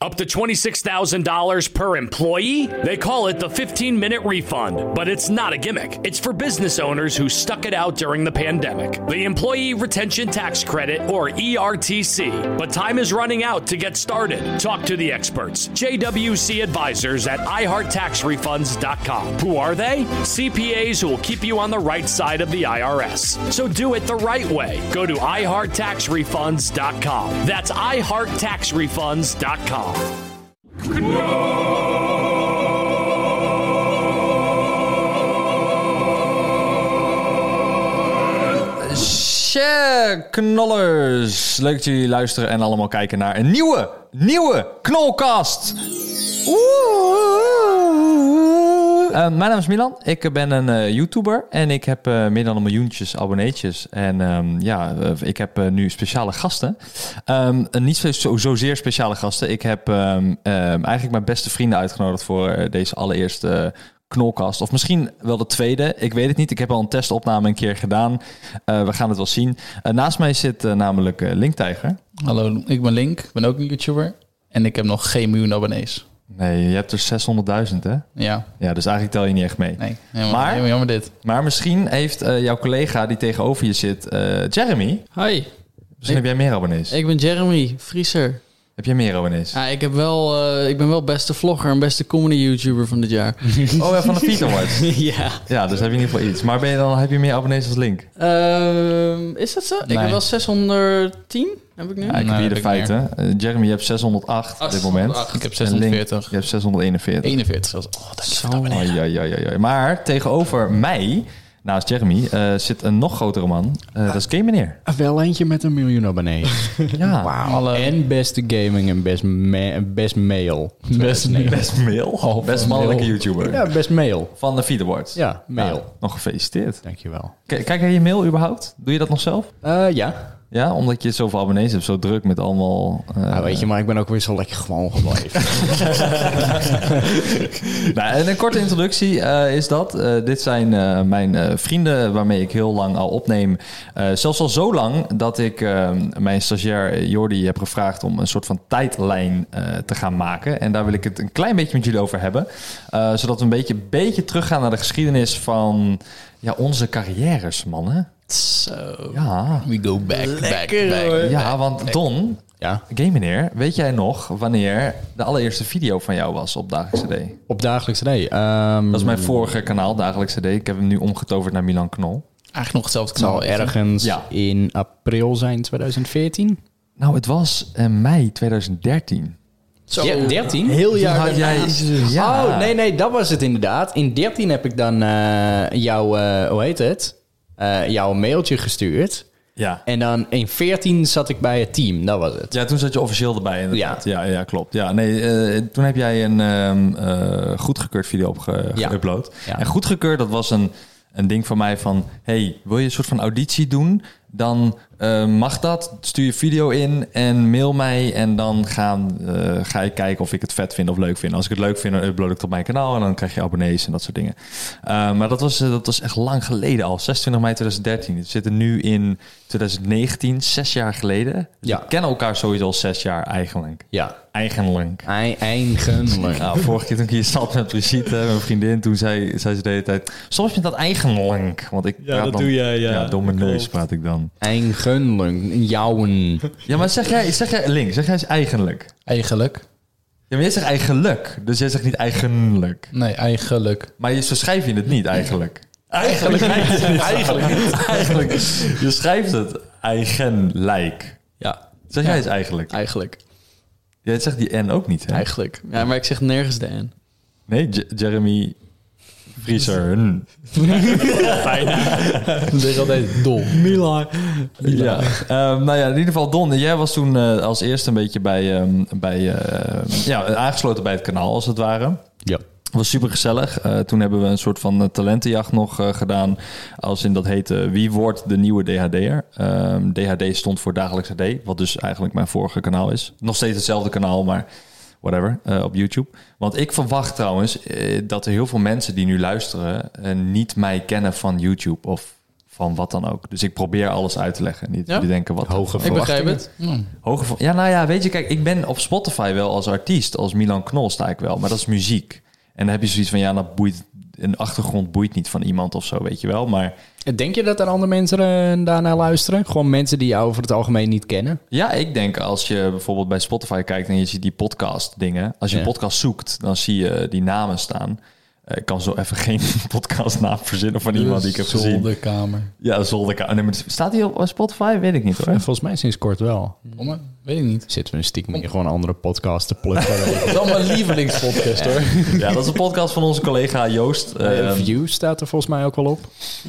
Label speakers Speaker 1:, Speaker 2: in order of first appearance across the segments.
Speaker 1: Up to $26,000 per employee? They call it the 15 minute refund, but it's not a gimmick. It's for business owners who stuck it out during the pandemic. The Employee Retention Tax Credit, or E ERTC. But time is running out to get started. Talk to the experts, JWC advisors at iHeartTaxRefunds.com. Who are they? CPAs who will keep you on the right side of the IRS. So do it the right way. Go to iHeartTaxRefunds.com. That's iHeartTaxRefunds.com.
Speaker 2: Share knollers. Leuk dat jullie luisteren en allemaal kijken naar een nieuwe, nieuwe knolcast. Oeh. Eh, mijn naam is Milan. Ik ben een eh, YouTuber en ik heb eh, meer dan een miljoentjes abonneetjes. En ehm, ja, eh, ik heb eh, nu speciale gasten. Ehm, en niet zo, zo- zozeer speciale gasten. Ik heb ehm, ehm, eigenlijk mijn beste vrienden uitgenodigd voor eh, deze allereerste eh, knolkast. Of misschien wel de tweede. Ik weet het niet. Ik heb al een testopname een keer gedaan. Eh, we gaan het wel zien. Eh, naast mij zit eh, namelijk eh, Linktijger.
Speaker 3: Hallo, ik ben Link, ik ben ook een YouTuber. En ik heb nog geen miljoen abonnees.
Speaker 2: Nee, je hebt er 600.000 hè?
Speaker 3: Ja,
Speaker 2: Ja, dus eigenlijk tel je niet echt mee.
Speaker 3: nee. Helemaal,
Speaker 2: Maar-
Speaker 3: helemaal jammer dit.
Speaker 2: Maar misschien heeft eh, jouw collega die tegenover je zit, eh, Jeremy.
Speaker 4: Hi,
Speaker 2: Misschien heb jij meer abonnees.
Speaker 4: ik ben Jeremy Vrieser.
Speaker 2: Heb jij meer abonnees?
Speaker 4: Ja, ik, heb wel, eh, ik ben wel beste vlogger en beste comedy YouTuber van dit jaar.
Speaker 2: Oh ja, van de Feet Awards.
Speaker 4: ja.
Speaker 2: Ja, dus heb je in ieder geval iets. Maar ben je dan, heb je meer abonnees als Link?
Speaker 4: Ehm, is dat zo? Ik
Speaker 3: Nee.
Speaker 4: heb wel 610, heb ik nu.
Speaker 2: Ja, ik Ah, heb
Speaker 3: Nee,
Speaker 2: hier de
Speaker 3: heb ik meer.
Speaker 2: feiten. Eh, Jeremy, je hebt 608 op dit moment.
Speaker 3: 608. Ik heb
Speaker 2: En Link,
Speaker 3: 640.
Speaker 2: Je hebt 641.
Speaker 3: 41 zelfs. Oh, dat is
Speaker 2: Oh, ja, ja, ja, ja. Maar tegenover mij, naast Jeremy, eh, zit een nog grotere man.
Speaker 5: Ah.
Speaker 2: Eh, dat is Game Meneer.
Speaker 5: Wel eentje met een miljoen abonnees.
Speaker 2: Ja.
Speaker 3: Alle-
Speaker 5: En beste gaming en best, ma- best mail.
Speaker 3: Best-
Speaker 5: Nee.
Speaker 2: Best male. Oh, Best mannelijke YouTuber.
Speaker 5: Ja, best mail.
Speaker 2: Van de Feed Awards.
Speaker 5: Ja, mail.
Speaker 2: Nou, nog gefeliciteerd.
Speaker 5: Dankjewel.
Speaker 2: K- kijk jij je mail überhaupt? Doe je dat nog zelf?
Speaker 5: Eh ja.
Speaker 2: Ja, omdat je zoveel abonnees hebt, zo druk met allemaal... eh,
Speaker 5: Ah, weet je, maar ik ben ook weer zo lekker gewoon gebleven.
Speaker 2: Nou, en een korte introductie eh, is dat. Eh, dit zijn eh, mijn eh, vrienden waarmee ik heel lang al opneem. Eh, zelfs al zo lang dat ik eh, mijn stagiair Jordi heb gevraagd om een soort van tijdlijn eh, te gaan maken. En daar wil ik het een klein beetje met jullie over hebben. Eh, zodat we een beetje, beetje teruggaan naar de geschiedenis van ja, onze carrières, mannen.
Speaker 4: Zo.
Speaker 2: Ja,
Speaker 3: We go back,
Speaker 4: Lekker,
Speaker 3: back,
Speaker 4: hoor.
Speaker 3: back.
Speaker 2: ja want Don,
Speaker 5: ja.
Speaker 2: game meneer, weet jij nog wanneer de allereerste video van jou was op Dagelijkse D?
Speaker 5: Op dagelijkse nee. Ehm,
Speaker 2: Dat is mijn vorige kanaal, Dagelijkse D. Ik heb hem nu omgetoverd naar Milan Knol.
Speaker 3: Eigenlijk nog hetzelfde
Speaker 5: zal
Speaker 3: kanaal. Erg.
Speaker 5: ergens
Speaker 2: Ja.
Speaker 5: in april zijn 2014.
Speaker 2: Nou, het was eh, mei 2013.
Speaker 4: Zo.
Speaker 5: Ja, 13? Heel jaar
Speaker 2: had jij-
Speaker 5: daarnaast.
Speaker 2: Ja.
Speaker 5: Oh, nee, nee, dat was het inderdaad. In 13 heb ik dan eh, jouw, eh, hoe heet het? Eh, jouw mailtje gestuurd.
Speaker 2: Ja.
Speaker 5: En dan in 14 zat ik bij het team, dat was het.
Speaker 2: Ja, toen zat je officieel erbij inderdaad. Ja, ja, klopt. Ja, nee, eh, toen heb jij een ehm eh goedgekeurd video op ge-
Speaker 5: Ja.
Speaker 2: geüpload.
Speaker 5: Ja.
Speaker 2: En goedgekeurd, dat was een, een ding van mij van... hey, wil je een soort van auditie doen? Dan eh, mag dat. Stuur je video in en mail mij. En dan gaan, eh, ga ik kijken of ik het vet vind of leuk vind. Als ik het leuk vind, dan upload ik het op mijn kanaal. En dan krijg je abonnees en dat soort dingen. Eh, maar dat was, eh, dat was echt lang geleden al. 26 mei 2013. We zitten nu in 2019, zes jaar geleden. Dus
Speaker 5: Ja.
Speaker 2: We kennen elkaar sowieso al zes jaar eigenlijk.
Speaker 5: Ja,
Speaker 2: Eigenlijk.
Speaker 5: Ei- eigenlijk.
Speaker 2: Nou, vorige keer toen ik hier zat met Brigitte, mijn vriendin, toen zei, zei ze de hele tijd... Soms met dat eigenlijk, want ik praat
Speaker 6: dat
Speaker 2: dan-
Speaker 6: doe jij, ja.
Speaker 2: ja door mijn
Speaker 6: Klopt.
Speaker 2: neus praat ik dan.
Speaker 5: Eigenlijk. Jouwen.
Speaker 2: Ja, maar zeg jij, zeg jij Link, zeg jij eens eigenlijk.
Speaker 3: Eigenlijk.
Speaker 2: Ja, maar jij zegt eigenlijk, dus jij zegt niet eigenlijk.
Speaker 3: Nee, eigenlijk.
Speaker 2: Maar je, zo schrijf je het niet eigenlijk.
Speaker 3: Eigenlijk niet. Eigenlijk niet.
Speaker 2: Eigenlijk, je schrijft het eigenlijk.
Speaker 4: Ja,
Speaker 2: Zeg jij eens eigenlijk.
Speaker 4: eigenlijk.
Speaker 2: Jij zegt die N ook niet, hè?
Speaker 4: Eigenlijk. Ja, maar ik zeg nergens de N.
Speaker 2: Nee, J- Jeremy Vrieser. hm.
Speaker 3: Dat is altijd dom.
Speaker 4: Milan.
Speaker 2: Ja. Ehm, nou ja, in ieder geval Don, jij was toen eh, als eerste een beetje bij, ehm, bij eh, ja, aangesloten bij het kanaal als het ware.
Speaker 5: Ja.
Speaker 2: Het was super gezellig. toen hebben we een soort van eh, talentenjacht nog eh, gedaan. Als in dat heette Wie wordt de nieuwe DHD'er? Ehm, DHD stond voor Dagelijkse D. Wat dus eigenlijk mijn vorige kanaal is. Nog steeds hetzelfde kanaal, maar whatever. eh, op YouTube. Want ik verwacht trouwens eh, dat er heel veel mensen die nu luisteren... eh, niet mij kennen van YouTube of van wat dan ook. Dus ik probeer alles uit te leggen. Niet jullie denken wat
Speaker 5: Hoge
Speaker 2: voor-
Speaker 4: Ik begrijp het.
Speaker 2: Hoge ver- Ja, nou ja, weet je, kijk, ik ben op Spotify wel als artiest, als Milan Knol sta ik wel, maar dat is muziek. En dan heb je zoiets van, ja, dat boeit, een achtergrond boeit niet van iemand of zo, weet je wel. Maar
Speaker 5: Denk je dat er andere mensen eh, daarnaar luisteren? Gewoon mensen die jou over het algemeen niet kennen?
Speaker 2: ja, ik denk als je bijvoorbeeld bij Spotify kijkt en je ziet die podcast dingen, als je een
Speaker 5: Ja.
Speaker 2: podcast zoekt, dan zie je die namen staan. Eh, Ik kan zo even geen podcastnaam verzinnen van iemand die ik heb gezien.
Speaker 3: Zolderkamer.
Speaker 2: Ja, zolderkamer. Nee, maar Staat die op Spotify? Weet ik niet hoor.
Speaker 5: Volgens mij sinds kort wel.
Speaker 3: Omme? Weet ik niet.
Speaker 5: Zitten we een stiekem hier gewoon andere podcasts te plukken. Eh,
Speaker 3: Dat is allemaal lievelingspodcast hoor.
Speaker 2: Ja, dat is een podcast van onze collega Joost.
Speaker 5: Eh,
Speaker 2: Ehm,
Speaker 5: View staat er volgens mij ook wel op.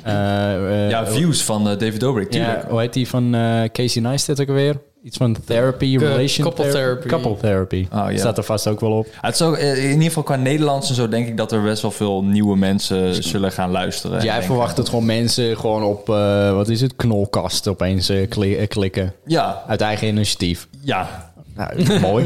Speaker 5: eh,
Speaker 2: ja, Views van eh, David Dobrik, tuurlijk.
Speaker 5: hoe heet die van eh, Casey Neistat ook weer? Iets van therapy, relation
Speaker 4: couple therapy.
Speaker 5: Couple therapy.
Speaker 2: Oh, ja.
Speaker 5: Staat er vast ook wel op.
Speaker 2: Ja, Het is ook, eh, in ieder geval qua Nederlands en zo denk ik dat er best wel veel nieuwe mensen zullen gaan luisteren.
Speaker 5: Jij
Speaker 2: Denk-
Speaker 5: verwacht dat gewoon mensen gewoon op, eh, wat is het, knolkast opeens eh, kli- eh, klikken.
Speaker 2: Ja,
Speaker 5: Uit eigen initiatief.
Speaker 2: ja.
Speaker 5: Nou, mooi.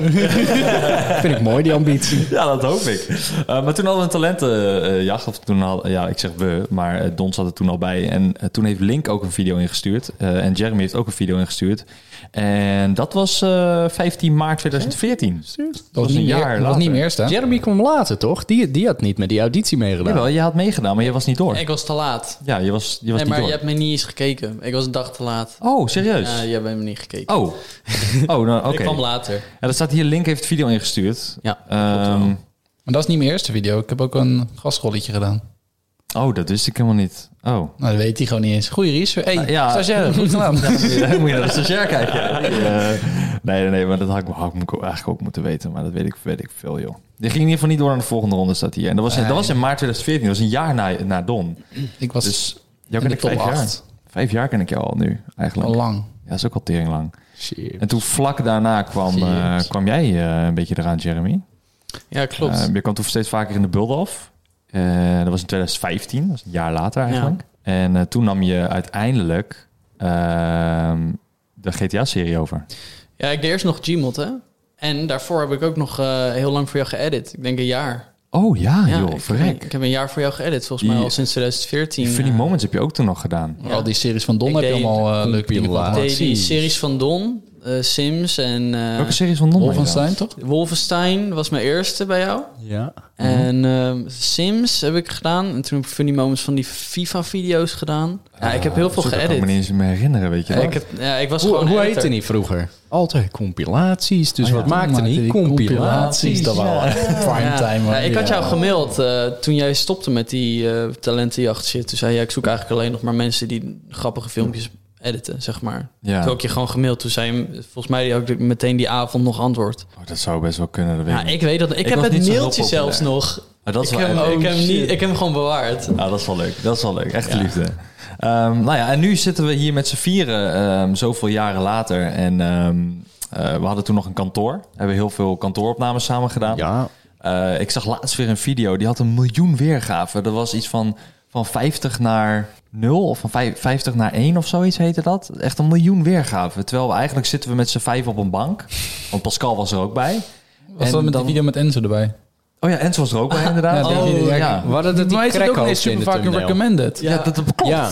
Speaker 5: Vind ik mooi, die ambitie.
Speaker 2: ja, dat hoop ik. Eh, maar toen hadden we een talentenjacht. of toen al, ja, ik zeg we, maar eh, Don zat er toen al bij. En eh, toen heeft Link ook een video ingestuurd. eh, en Jeremy heeft ook een video ingestuurd. En dat was eh, 15 maart 2014.
Speaker 3: Dat
Speaker 2: was
Speaker 3: was
Speaker 2: een
Speaker 3: niet
Speaker 2: jaar
Speaker 3: meer, dat was
Speaker 2: later.
Speaker 3: niet meer staan.
Speaker 5: Jeremy kwam later, toch? Die, die had niet met die auditie meegedaan.
Speaker 2: Jawel, je had meegedaan, maar je was niet door.
Speaker 4: Ik was te laat.
Speaker 2: Ja, je was, je was
Speaker 4: nee,
Speaker 2: niet
Speaker 4: maar
Speaker 2: door.
Speaker 4: je hebt me niet Dus. eens gekeken. Ik was een dag te laat.
Speaker 2: Oh, serieus?
Speaker 4: Ja, je hebt me niet gekeken.
Speaker 2: Oh. Oh, nou, oké.
Speaker 4: Ik kwam later.
Speaker 2: Ja, er staat hier, Link heeft video ingestuurd.
Speaker 4: Ja,
Speaker 2: Ehm,
Speaker 3: Maar dat is niet mijn eerste video. Ik heb ook een gastrolletje gedaan.
Speaker 2: oh, dat wist ik helemaal niet. Oh.
Speaker 3: Nou, dat weet hij gewoon niet eens. Goeie research. Hey,
Speaker 2: Ah, ja.
Speaker 3: stagiair, goed gedaan.
Speaker 2: Ja, moet je naar de stagiair kijken. Eh, nee, nee, nee, maar dat had ik, had ik eigenlijk ook moeten weten. Maar dat weet ik, weet ik veel, joh. Die ging in ieder geval niet door naar de volgende ronde, staat hier. En dat was, in- dat was in maart 2014. Dat was een jaar na, na Don.
Speaker 3: Ik was
Speaker 2: Dus jou
Speaker 3: In
Speaker 2: ken
Speaker 3: de
Speaker 2: ik
Speaker 3: top
Speaker 2: vijf jaar.
Speaker 3: acht.
Speaker 2: Vijf jaar ken ik jou al nu, eigenlijk.
Speaker 3: al lang.
Speaker 2: Ja, dat is ook al tering lang.
Speaker 5: Shit.
Speaker 2: En toen vlak daarna kwam, eh, kwam jij eh, een beetje eraan, Jeremy.
Speaker 4: ja klopt.
Speaker 2: Eh, je kwam toen steeds vaker in de bulde af. Eh, dat was in 2015, dat is een jaar later eigenlijk. En eh, toen nam je uiteindelijk ehm, de GTA-serie over.
Speaker 4: ja, ik deed eerst nog Gmod, hè. En daarvoor heb ik ook nog eh, heel lang voor jou geëdit. Ik denk een jaar.
Speaker 2: Oh ja,
Speaker 4: ja,
Speaker 2: joh,
Speaker 4: ik,
Speaker 2: verrek.
Speaker 4: ik heb een jaar voor jou geëdit, volgens mij
Speaker 2: Je-
Speaker 4: al sinds 2014.
Speaker 2: Funny
Speaker 4: eh.
Speaker 2: Moments heb je ook toen nog gedaan.
Speaker 4: Ja.
Speaker 3: Al die series van Don
Speaker 4: Ik
Speaker 3: heb je
Speaker 4: deed
Speaker 3: allemaal eh, leuke dingen
Speaker 5: compilatie.
Speaker 2: Ah,
Speaker 3: gemaakt.
Speaker 4: Ik deed die
Speaker 5: Precies.
Speaker 4: series van Don, eh, Sims en eh,
Speaker 2: Welke series van Don?
Speaker 3: Wolfenstein, toch?
Speaker 4: Wolfenstein was mijn eerste bij jou.
Speaker 5: Ja.
Speaker 4: En ehm, Sims heb ik gedaan. En toen heb ik Funny Moments van die FIFA-video's gedaan. Ja, ik heb heel veel
Speaker 2: Ik kan me
Speaker 4: geëdit.
Speaker 2: niet eens meer herinneren, weet je wel.
Speaker 4: Ik, heb, ja, ik was
Speaker 5: Hoe,
Speaker 4: gewoon
Speaker 5: hoe
Speaker 4: editor.
Speaker 5: heette die vroeger? Altijd compilaties. Dus
Speaker 2: Oh ja,
Speaker 5: wat maakte
Speaker 3: maakte
Speaker 5: die?
Speaker 3: die
Speaker 5: Compilaties.
Speaker 3: compilaties,
Speaker 5: Dat wel.
Speaker 4: Ja.
Speaker 3: Prime time.
Speaker 4: Ja, ik had jou gemaild eh, toen jij stopte met die eh, talentenjacht shit. Toen zei jij, ik zoek eigenlijk alleen nog maar mensen die grappige filmpjes editen, zeg maar.
Speaker 2: Ja.
Speaker 4: Toen heb ik je gewoon gemaild. Toen zei je, volgens mij ook meteen die avond nog antwoord.
Speaker 2: Oh, dat zou best wel kunnen, dat weet
Speaker 4: Ja,
Speaker 2: ik niet.
Speaker 4: ik weet dat. Ik, heb
Speaker 2: was
Speaker 4: het
Speaker 2: niet zo heel
Speaker 4: mailtje
Speaker 2: populair.
Speaker 4: zelfs nog.
Speaker 2: Maar dat is
Speaker 4: ik,
Speaker 2: wel
Speaker 4: heb,
Speaker 2: echt- Oh,
Speaker 4: ik, heb hem niet, ik heb hem gewoon bewaard.
Speaker 2: Ah, dat is wel leuk. Dat is wel leuk. Echte liefde. Ehm, nou ja, en nu zitten we hier met z'n vieren ehm, zoveel jaren later. En ehm, eh, we hadden toen nog een kantoor. Hebben heel veel kantooropnames samen gedaan.
Speaker 5: Ja.
Speaker 2: Eh, ik zag laatst weer een video. Die had een miljoen weergaven. Dat was iets van, van 50 naar 0 of van vijf- 50 naar 1 of zoiets heette dat. Echt een miljoen weergaven. Terwijl we eigenlijk zitten we met z'n vijf op een bank. Want Pascal was er ook bij.
Speaker 3: Was dat met die video met Enzo erbij?
Speaker 2: Oh ja, Enzo was er ook bij inderdaad.
Speaker 3: Ja, die- die-
Speaker 2: oh,
Speaker 3: die-
Speaker 2: ja.
Speaker 5: We hadden het die
Speaker 3: Maar is het ook niet
Speaker 5: crackhoofd
Speaker 3: super
Speaker 5: in de
Speaker 3: vaak een
Speaker 5: thumbnail.
Speaker 3: recommended?
Speaker 2: Ja, dat, dat klopt.
Speaker 5: Ja.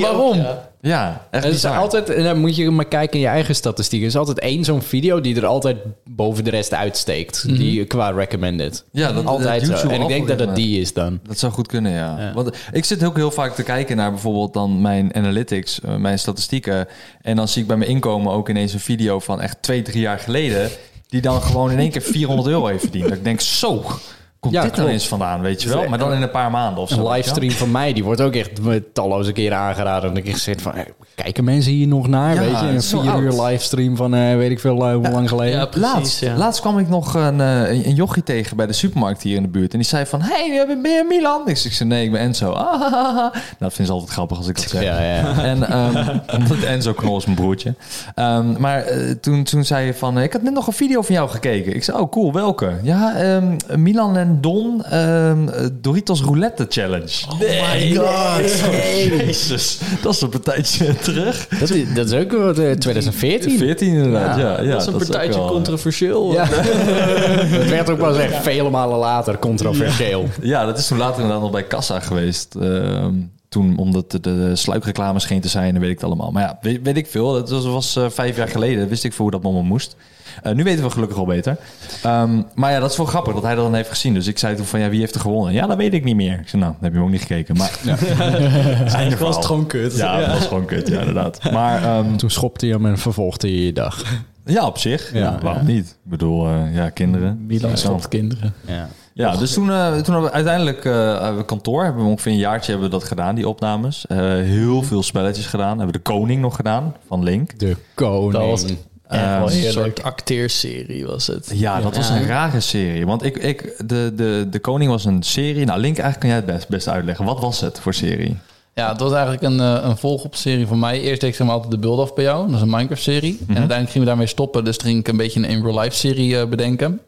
Speaker 3: Waarom?
Speaker 2: Ja, echt
Speaker 5: Er is
Speaker 2: bizar.
Speaker 5: altijd, en dan moet je maar kijken in je eigen statistieken. Er is altijd één zo'n video die er altijd boven de rest uitsteekt. Die qua recommended.
Speaker 2: Mhm. Ja, dat- dat
Speaker 5: altijd zo.
Speaker 2: YouTube
Speaker 5: En ik denk dat het
Speaker 2: algoritme.
Speaker 5: die is dan.
Speaker 2: Dat zou goed kunnen, ja. Want ik zit ook heel vaak te kijken naar bijvoorbeeld dan mijn analytics, eh, mijn statistieken. En dan zie ik bij mijn inkomen ook ineens een video van echt twee, drie jaar geleden. Die dan gewoon in één keer 400 euro heeft verdiend. Dat ik denk, zo, komt
Speaker 5: Ja,
Speaker 2: dit dan
Speaker 5: klopt.
Speaker 2: eens vandaan, weet je wel? Maar dan in een paar maanden of zo.
Speaker 5: Een
Speaker 2: weet je wel?
Speaker 5: livestream van mij, die wordt ook echt talloze keren aangeraden. Omdat ik echt zit van, eh, kijken mensen hier nog naar?
Speaker 2: Ja,
Speaker 5: weet je,
Speaker 2: het
Speaker 5: een
Speaker 2: is zo
Speaker 5: vier
Speaker 2: oud.
Speaker 5: uur livestream van eh, weet ik veel eh, hoe lang geleden.
Speaker 4: Ja, precies.
Speaker 2: laatst,
Speaker 4: ja.
Speaker 2: laatst kwam ik nog een, eh, een een jochie tegen bij de supermarkt hier in de buurt. En die zei van, hey, ben je Milan? Ik zei, nee, ik ben Enzo. Ah, ah, ah, ah. Nou, dat vinden ze altijd grappig als ik dat zeg.
Speaker 5: Ja, ja.
Speaker 2: En ehm, omdat Enzo Knol is mijn broertje. Ehm, maar eh, toen, toen zei je van, eh, ik had net nog een video van jou gekeken. Ik zei, oh cool, welke? Ja, ehm, Milan en Rendon ehm, Doritos Roulette Challenge.
Speaker 3: Oh my god.
Speaker 2: Jezus, dat is een partijtje terug.
Speaker 5: Dat is, dat is ook wat, eh, 2014.
Speaker 2: 14 inderdaad, ja. ja,
Speaker 4: dat is een
Speaker 2: ook
Speaker 4: partijtje
Speaker 2: wel, eh,
Speaker 4: controversieel.
Speaker 5: Ja. dat werd ook wel eens echt vele malen later controversieel.
Speaker 2: Ja, dat is toen later inderdaad nog bij Kassa geweest. Ehm, toen, omdat de, de sluikreclame scheen te zijn, en weet ik het allemaal. Maar ja, weet, weet ik veel. Dat was, was eh, vijf jaar geleden. Wist ik voor hoe dat allemaal moest. Eh, nu weten we gelukkig al beter. Ehm, maar ja, dat is wel grappig dat hij dat dan heeft gezien. Dus ik zei toen van, ja, wie heeft er gewonnen? Ja, dat weet ik niet meer. Ik zei, nou, dat heb je ook niet gekeken. Maar ja.
Speaker 4: Eigenlijk was het gewoon kut.
Speaker 2: Ja, dat was gewoon kut, ja, inderdaad. Maar ehm,
Speaker 5: Toen schopte hij hem en vervolgde hij je dag.
Speaker 2: ja, op zich. Ja,
Speaker 5: Ja,
Speaker 2: waarom niet? Ik bedoel, eh, ja, kinderen.
Speaker 3: Milan
Speaker 2: Ja,
Speaker 3: stopt kinderen.
Speaker 5: Ja.
Speaker 2: Ja, dus toen, eh, toen hebben we uiteindelijk eh, hebben we kantoor, hebben we ongeveer een jaartje hebben we dat gedaan, die opnames. Eh, heel veel spelletjes gedaan. Hebben we de koning nog gedaan van Link.
Speaker 5: De koning.
Speaker 3: Dat was
Speaker 2: Eh,
Speaker 3: wel
Speaker 4: Een
Speaker 3: heerlijk.
Speaker 4: soort acteerserie was het.
Speaker 2: Ja, dat was een rare serie. Want ik, ik, de, de, de koning was een serie. Nou, Link, eigenlijk kan jij het best, best uitleggen. Wat was het voor serie?
Speaker 3: Ja, het was eigenlijk een, eh, een volg serie van mij. Eerst deed ik zeg maar altijd de build af bij jou. Dat is een Minecraft-serie. En
Speaker 2: Mhm.
Speaker 3: uiteindelijk gingen we daarmee stoppen. Dus toen ging ik een beetje een in real life-serie eh, bedenken.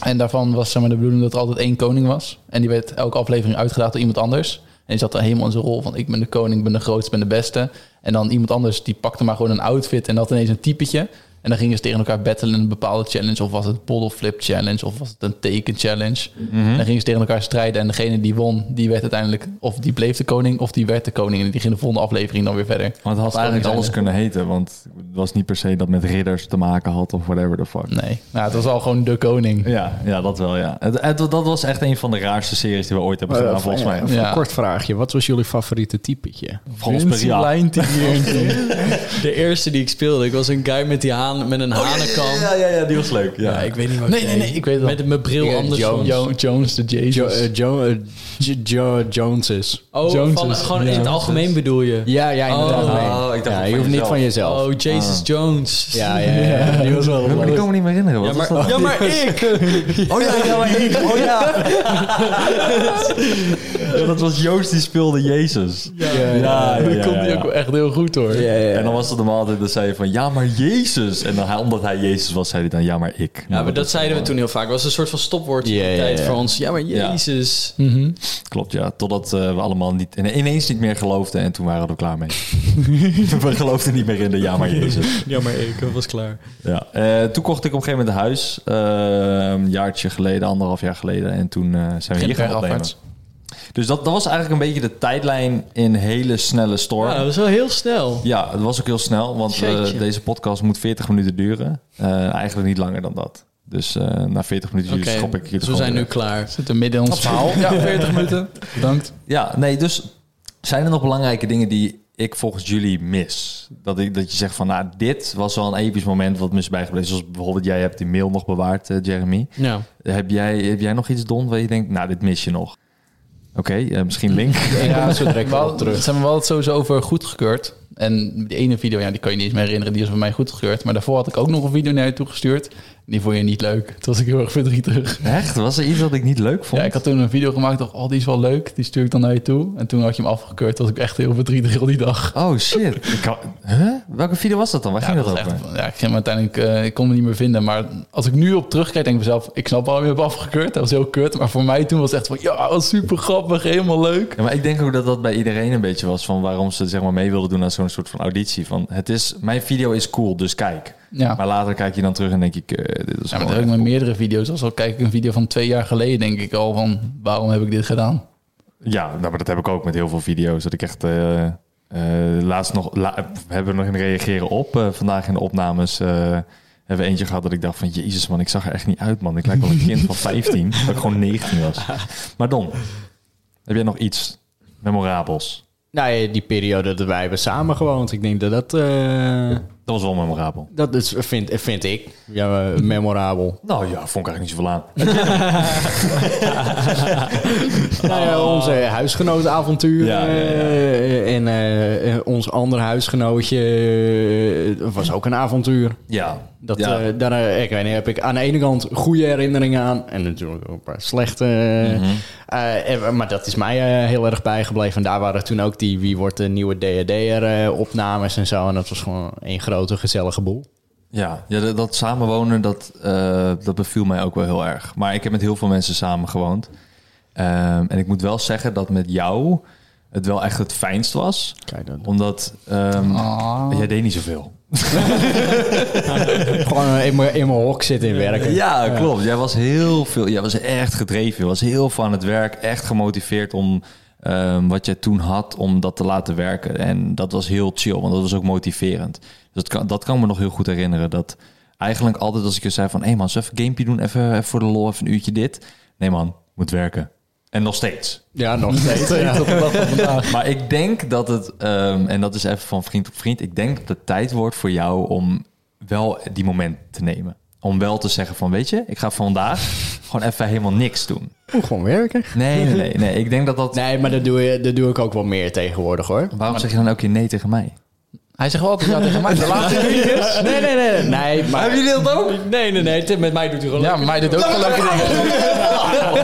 Speaker 3: En daarvan was zeg maar, de bedoeling dat er altijd één koning was. En die werd elke aflevering uitgedaagd door iemand anders. En die zat dan helemaal in zijn rol van ik ben de koning, ik ben de grootste, ik ben de beste. En dan iemand anders die pakte maar gewoon een outfit en had ineens een typetje. En dan gingen ze tegen elkaar battelen in een bepaalde challenge. Of was het bottle flip challenge, of was het een teken challenge.
Speaker 2: Mhm.
Speaker 3: En dan gingen ze tegen elkaar strijden. En degene die won, die werd uiteindelijk, of die bleef de koning, of die werd de koning. En die ging de volgende aflevering dan weer verder.
Speaker 2: Want het had eigenlijk alles kunnen heten. Want het was niet per se dat met ridders te maken had of whatever the fuck.
Speaker 3: Nee, nou, het was al gewoon de koning.
Speaker 2: Ja, ja, dat wel, ja. Het, het- dat was echt een van de raarste series die we ooit hebben gedaan, volgens mij.
Speaker 5: Even
Speaker 3: Ja.
Speaker 5: Een kort vraagje. Wat was jullie favoriete typetje?
Speaker 2: Frans Periaat.
Speaker 4: De eerste die ik speelde, ik was een guy met die haan, met een
Speaker 3: Oh,
Speaker 4: hanenkam.
Speaker 2: Ja, ja, ja, die was leuk. Ja,
Speaker 4: ik weet niet wat
Speaker 3: Nee, nee, nee, ik weet het wel.
Speaker 4: Met mijn bril
Speaker 3: Ja,
Speaker 4: anders.
Speaker 3: Jones, Jo- Jones de Jesus.
Speaker 5: Jo, eh, jo, eh, J- Jo- Joneses.
Speaker 4: Oh,
Speaker 3: Jones
Speaker 4: van,
Speaker 3: is-
Speaker 4: gewoon in
Speaker 3: Jones
Speaker 4: het algemeen bedoel je?
Speaker 5: Ja, ja, inderdaad.
Speaker 4: Oh,
Speaker 5: nee.
Speaker 2: oh, ik dacht
Speaker 5: ja,
Speaker 2: van
Speaker 5: je hoeft niet
Speaker 2: jezelf.
Speaker 5: van jezelf.
Speaker 4: Oh, Jesus Jones.
Speaker 5: Ja, ja, ja, ja. Die was wel
Speaker 2: Maar
Speaker 5: leuk.
Speaker 2: ik kan me niet meer herinneren. Wat
Speaker 4: Ja,
Speaker 2: was dat?
Speaker 4: maar, ja, maar ik!
Speaker 2: Oh ja, ja, maar ik. Oh ja. ja. Dat was Joost die speelde Jezus. Ja, ja, ja.
Speaker 3: dat
Speaker 2: ja,
Speaker 3: komt
Speaker 2: ja.
Speaker 3: hij ook wel echt heel goed hoor.
Speaker 5: Ja, ja, ja.
Speaker 2: En dan was het normaal altijd dat zei je van ja, maar Jezus. En dan, hij- omdat hij Jezus was, zei hij dan ja, maar ik.
Speaker 4: Ja, maar dat zeiden we toen heel vaak. Het was een soort van stopwoord in
Speaker 5: Ja,
Speaker 4: die
Speaker 5: ja,
Speaker 4: tijd
Speaker 5: ja.
Speaker 4: voor ons. Ja, maar
Speaker 2: Ja.
Speaker 4: Jezus.
Speaker 2: Klopt, ja. Totdat eh, we allemaal niet, en ineens niet meer geloofden en toen waren we er klaar mee. we geloofden niet meer in de ja, maar Jezus.
Speaker 4: Ja, maar ik. Dat was klaar.
Speaker 2: Ja, eh, toen kocht ik op een gegeven moment een huis. eh, een jaartje geleden, anderhalf jaar geleden. En toen eh, zijn we hier gaan opnemen.
Speaker 3: bergafwaarts.
Speaker 2: Dus dat, dat was eigenlijk een beetje de tijdlijn in hele snelle storm.
Speaker 4: Ja, Nou, dat
Speaker 2: Ja,
Speaker 4: was wel heel snel.
Speaker 2: het was ook heel snel, want eh,
Speaker 4: Jeetje.
Speaker 2: deze podcast moet 40 minuten duren. Eh, eigenlijk niet langer dan dat. Dus eh, na 40 minuten
Speaker 4: Oké,
Speaker 2: schop ik je
Speaker 4: dus we zijn nu klaar.
Speaker 3: Zit er midden in ons verhaal. Ja, 40 minuten. Bedankt.
Speaker 2: Ja, nee, dus zijn er nog belangrijke dingen die ik volgens jullie mis? Dat, ik, dat je zegt van, nou, dit was wel een episch moment wat me is bijgebleven. Zoals bijvoorbeeld, jij hebt die mail nog bewaard, eh, Jeremy.
Speaker 4: Ja.
Speaker 2: Heb jij, heb jij nog iets, Don, waar je denkt, nou, dit mis je nog? Oké, eh, misschien Link.
Speaker 5: Ja, zo direct
Speaker 3: We
Speaker 5: wel
Speaker 3: hadden-
Speaker 5: terug.
Speaker 3: Ze hebben wel het sowieso over goedgekeurd. En die ene video, ja, die kan je niet eens meer herinneren. Die was bij mij goedgekeurd. Maar daarvoor had ik ook nog een video naar je toegestuurd. Die vond je niet leuk. Toen was ik heel erg verdrietig.
Speaker 2: Echt? Was er iets dat ik niet leuk vond?
Speaker 3: Ja, ik had toen een video gemaakt. dacht, oh, die is wel leuk. Die stuur ik dan naar je toe. En toen had je hem afgekeurd. Toen was ik echt heel verdrietig heel die dag.
Speaker 2: Oh, shit. Ik kan... huh? Welke video was dat dan? Waar
Speaker 3: Ja,
Speaker 2: ging dat,
Speaker 3: dat was
Speaker 2: over?
Speaker 3: echt, ja, ik ging hem uiteindelijk, eh, ik kon hem niet meer vinden. Maar als ik nu op terugkijk, denk ik mezelf, ik snap waarom je hebt afgekeurd. Dat was heel kut. Maar voor mij toen was het echt van, ja, wat super grappig, helemaal leuk.
Speaker 2: Ja, maar ik denk ook dat dat bij iedereen een beetje was van waarom ze zeg maar mee wilden doen aan zo'n soort van auditie. Van het is, mijn video is cool, dus kijk.
Speaker 3: Ja.
Speaker 2: Maar later kijk je dan terug en denk ik, eh, dit is
Speaker 3: Ja, maar dat
Speaker 2: gewoon
Speaker 3: heb ik
Speaker 2: echt
Speaker 3: met meerdere video's. Als al kijk ik een video van twee jaar geleden, denk ik al van, waarom heb ik dit gedaan?
Speaker 2: Ja, nou, maar dat heb ik ook met heel veel video's. Dat ik echt eh, eh, laatst nog... la- we hebben nog een reageren op. eh, vandaag in de opnames eh, hebben we eentje gehad dat ik dacht van... Jezus man, ik zag er echt niet uit man. Ik lijk wel een kind van 15. dat ik gewoon 19 was. Maar Don, heb jij nog iets memorabels?
Speaker 5: Nou ja, die periode dat wij hebben samen gewoond. Ik denk dat dat... eh,
Speaker 2: Dat was wel memorabel.
Speaker 5: dat is, vind, vind ik ja, eh, memorabel.
Speaker 2: Nou ja, vond ik eigenlijk niet zoveel aan.
Speaker 5: Nou ja, onze huisgenotenavontuur.
Speaker 2: Oh. Ja, ja, ja.
Speaker 5: eh, en eh, eh, ons ander huisgenootje eh, was ook een avontuur.
Speaker 2: Ja,
Speaker 5: Dat,
Speaker 2: ja.
Speaker 5: eh, daar eh, ik weet niet, heb ik aan de ene kant goede herinneringen aan. En natuurlijk ook een paar slechte. eh,
Speaker 2: Mhm.
Speaker 5: eh, eh, maar dat is mij eh, heel erg bijgebleven. En daar waren toen ook die Wie wordt de nieuwe DHD'er eh, opnames en zo. En dat was gewoon één grote gezellige boel.
Speaker 2: Ja, ja dat, dat samenwonen, dat, eh, dat beviel mij ook wel heel erg. Maar ik heb met heel veel mensen samengewoond. Ehm, en ik moet wel zeggen dat met jou het wel echt het fijnst was.
Speaker 5: Kijk, dat-
Speaker 2: Omdat ehm, jij deed niet zoveel.
Speaker 5: Gewoon eh, in mijn in mijn hok zitten in werken.
Speaker 2: Ja, klopt. Jij was heel veel. Jij was echt gedreven. Je was heel van het werk. Echt gemotiveerd om ehm, wat jij toen had, om dat te laten werken. En dat was heel chill, want dat was ook motiverend. Dus dat kan, dat kan me nog heel goed herinneren. Dat eigenlijk altijd als ik je zei van... hé hey man, eens even gamepje doen, even, even voor de lol, even een uurtje dit. Nee man, moet werken. En nog steeds.
Speaker 5: Ja, nog steeds. ja.
Speaker 2: Maar ik denk dat het, ehm, en dat is even van vriend op vriend, ik denk dat het tijd wordt voor jou om wel die moment te nemen. Om wel te zeggen van, weet je, ik ga vandaag gewoon even helemaal niks doen.
Speaker 5: Moet gewoon werken.
Speaker 2: Nee, nee, nee. nee. Ik denk dat dat...
Speaker 5: Nee, maar dat doe, je, dat doe ik ook wel meer tegenwoordig hoor.
Speaker 2: Waarom zeg je dan ook keer nee tegen mij?
Speaker 3: Hij zegt wel altijd ja tegen mij. De laatste
Speaker 5: Nee, nee, nee. Nee, maar...
Speaker 2: Hebben jullie dat ook?
Speaker 4: Nee, nee, nee. Tim, met mij doet hij gewoon
Speaker 3: Ja, maar mij doet ook wel leuke dingen.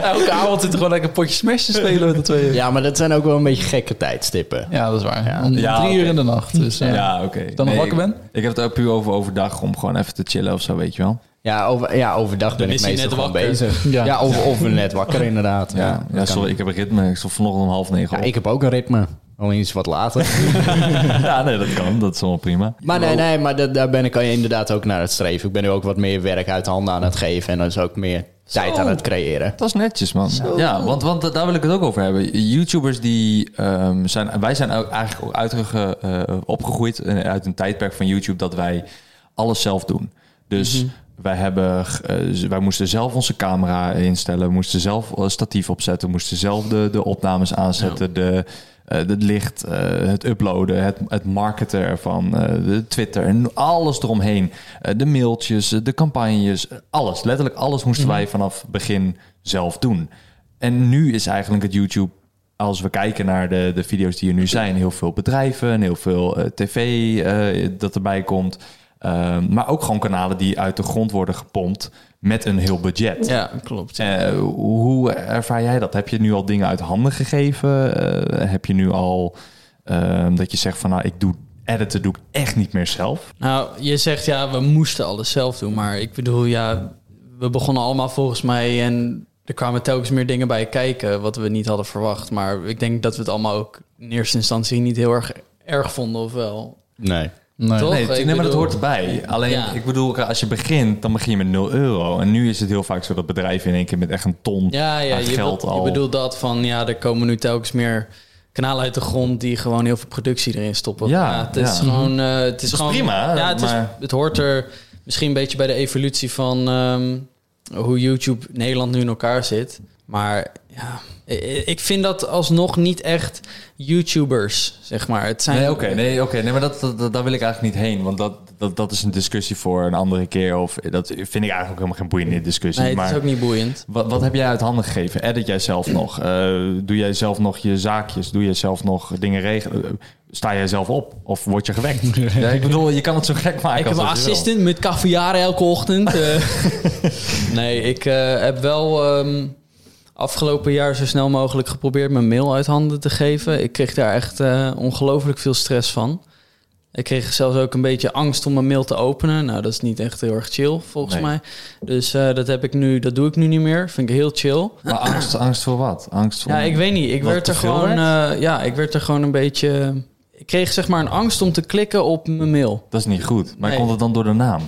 Speaker 3: Elke avond zit er gewoon lekker een potje smash te spelen met de tweeën.
Speaker 5: Ja, maar dat zijn ook wel een beetje gekke tijdstippen.
Speaker 3: Ja, dat is waar. Om
Speaker 2: Ja,
Speaker 3: drie
Speaker 2: oké.
Speaker 3: uur in de nacht. Dus, eh,
Speaker 2: Ja, oké.
Speaker 3: Dan nog
Speaker 2: Nee,
Speaker 3: wakker
Speaker 2: ik-
Speaker 3: ben?
Speaker 2: Ik heb het ook puur over overdag om gewoon even te chillen of zo, weet je wel.
Speaker 5: Ja, over, ja overdag ben ik
Speaker 4: is hij
Speaker 5: meestal
Speaker 4: net
Speaker 5: gewoon
Speaker 4: wakker.
Speaker 5: bezig. Ja,
Speaker 3: Ja.
Speaker 5: of, of net wakker inderdaad. Ja,
Speaker 2: Ja,
Speaker 5: dat
Speaker 2: ja
Speaker 5: kan.
Speaker 2: sorry, ik heb een ritme. Ik stond vanochtend om half negen
Speaker 5: Ja,
Speaker 2: op.
Speaker 5: ik heb ook een ritme. Alleen iets wat later.
Speaker 2: Ja, nee, dat kan. Dat is allemaal prima.
Speaker 5: Maar nee, nee, maar dat, daar ben ik al inderdaad ook naar het streven. Ik ben nu ook wat meer werk uit de handen aan het geven. En dus ook meer tijd aan het creëren.
Speaker 2: Dat is netjes, man. Ja, want, want daar wil ik het ook over hebben. YouTubers die ehm, zijn... Wij zijn ook eigenlijk ook uitge, eh, opgegroeid eh, uit een tijdperk van YouTube... dat wij alles zelf doen. Dus wij, hebben, eh, z- wij moesten zelf onze camera instellen. We moesten zelf eh, statief opzetten. We moesten zelf de, de opnames aanzetten. De, eh, het licht, eh, het uploaden, het, het marketen ervan, eh, de Twitter en alles eromheen. Eh, de mailtjes, eh, de campagnes, eh, alles. Letterlijk alles moesten wij vanaf begin zelf doen. En nu is eigenlijk het YouTube, als we kijken naar de, de video's die er nu zijn, heel veel bedrijven en heel veel eh, tv eh, dat erbij komt. Eh, maar ook gewoon kanalen die uit de grond worden gepompt met een heel budget.
Speaker 4: Ja, klopt.
Speaker 2: Eh, hoe ervaar jij dat? Heb je nu al dingen uit handen gegeven? Eh, heb je nu al ehm, dat je zegt van nou, ik doe editen doe ik echt niet meer zelf?
Speaker 4: Nou, je zegt ja, we moesten alles zelf doen. Maar ik bedoel, ja, we begonnen allemaal volgens mij. En er kwamen telkens meer dingen bij kijken wat we niet hadden verwacht. Maar ik denk dat we het allemaal ook in eerste instantie niet heel erg erg vonden, of wel?
Speaker 5: Nee.
Speaker 3: nee.
Speaker 4: Toch?
Speaker 2: Nee,
Speaker 4: Ik
Speaker 2: nee maar dat
Speaker 4: bedoel-
Speaker 2: hoort erbij. Alleen,
Speaker 4: Ja.
Speaker 2: ik bedoel, als je begint, dan begin je met 0 euro. En nu is het heel vaak zo dat bedrijven in één keer met echt een ton
Speaker 4: Ja, ja
Speaker 2: aan
Speaker 4: je,
Speaker 2: geld
Speaker 4: bedoelt-
Speaker 2: al...
Speaker 4: je bedoelt dat van ja, er komen nu telkens meer kanalen uit de grond die gewoon heel veel productie erin stoppen.
Speaker 2: Ja,
Speaker 4: het is
Speaker 2: ja.
Speaker 4: gewoon. eh, het is,
Speaker 2: is
Speaker 4: gewoon,
Speaker 2: prima,
Speaker 4: Ja, het, is-
Speaker 2: maar-
Speaker 4: het hoort er misschien een beetje bij de evolutie van ehm, hoe YouTube Nederland nu in elkaar zit. Maar ja, i- i- ik vind dat alsnog niet echt YouTubers, zeg maar. Het zijn
Speaker 2: Nee, oké, nee, oké, nee, maar dat, dat, dat- daar wil ik eigenlijk niet heen. Want dat, dat, dat is een discussie voor een andere keer. Of dat vind ik eigenlijk ook helemaal geen boeiende discussie.
Speaker 4: Nee, het
Speaker 2: maar...
Speaker 4: is ook niet boeiend.
Speaker 2: Wat, wat heb jij uit handen gegeven? Edit jij zelf nog? Eh, doe jij zelf nog je zaakjes? Doe jij zelf nog dingen regelen? Eh, Sta jij zelf op? Of word je gewekt? ja, ik bedoel, je kan het zo gek maken.
Speaker 4: Ik heb
Speaker 2: als
Speaker 4: een
Speaker 2: dat je wil.
Speaker 4: assistent met caviar elke ochtend. eh. nee, ik eh, heb wel ehm, afgelopen jaar zo snel mogelijk geprobeerd mijn mail uit handen te geven. Ik kreeg daar echt eh, ongelooflijk veel stress van. Ik kreeg zelfs ook een beetje angst om mijn mail te openen. Nou, dat is niet echt heel erg chill volgens
Speaker 2: Nee.
Speaker 4: mij. Dus eh, dat heb ik nu, dat doe ik nu niet meer. Vind ik heel chill.
Speaker 2: Maar angst, angst voor wat? Angst voor...
Speaker 4: Ja, ik weet niet. Ik
Speaker 2: Wat
Speaker 4: werd
Speaker 2: te
Speaker 4: er
Speaker 2: veel
Speaker 4: gewoon, eh, ja, ik werd er gewoon een beetje. Ik kreeg zeg maar een angst om te klikken op mijn mail.
Speaker 2: Dat is niet goed. Maar
Speaker 4: Nee.
Speaker 2: komt het dan door de naam?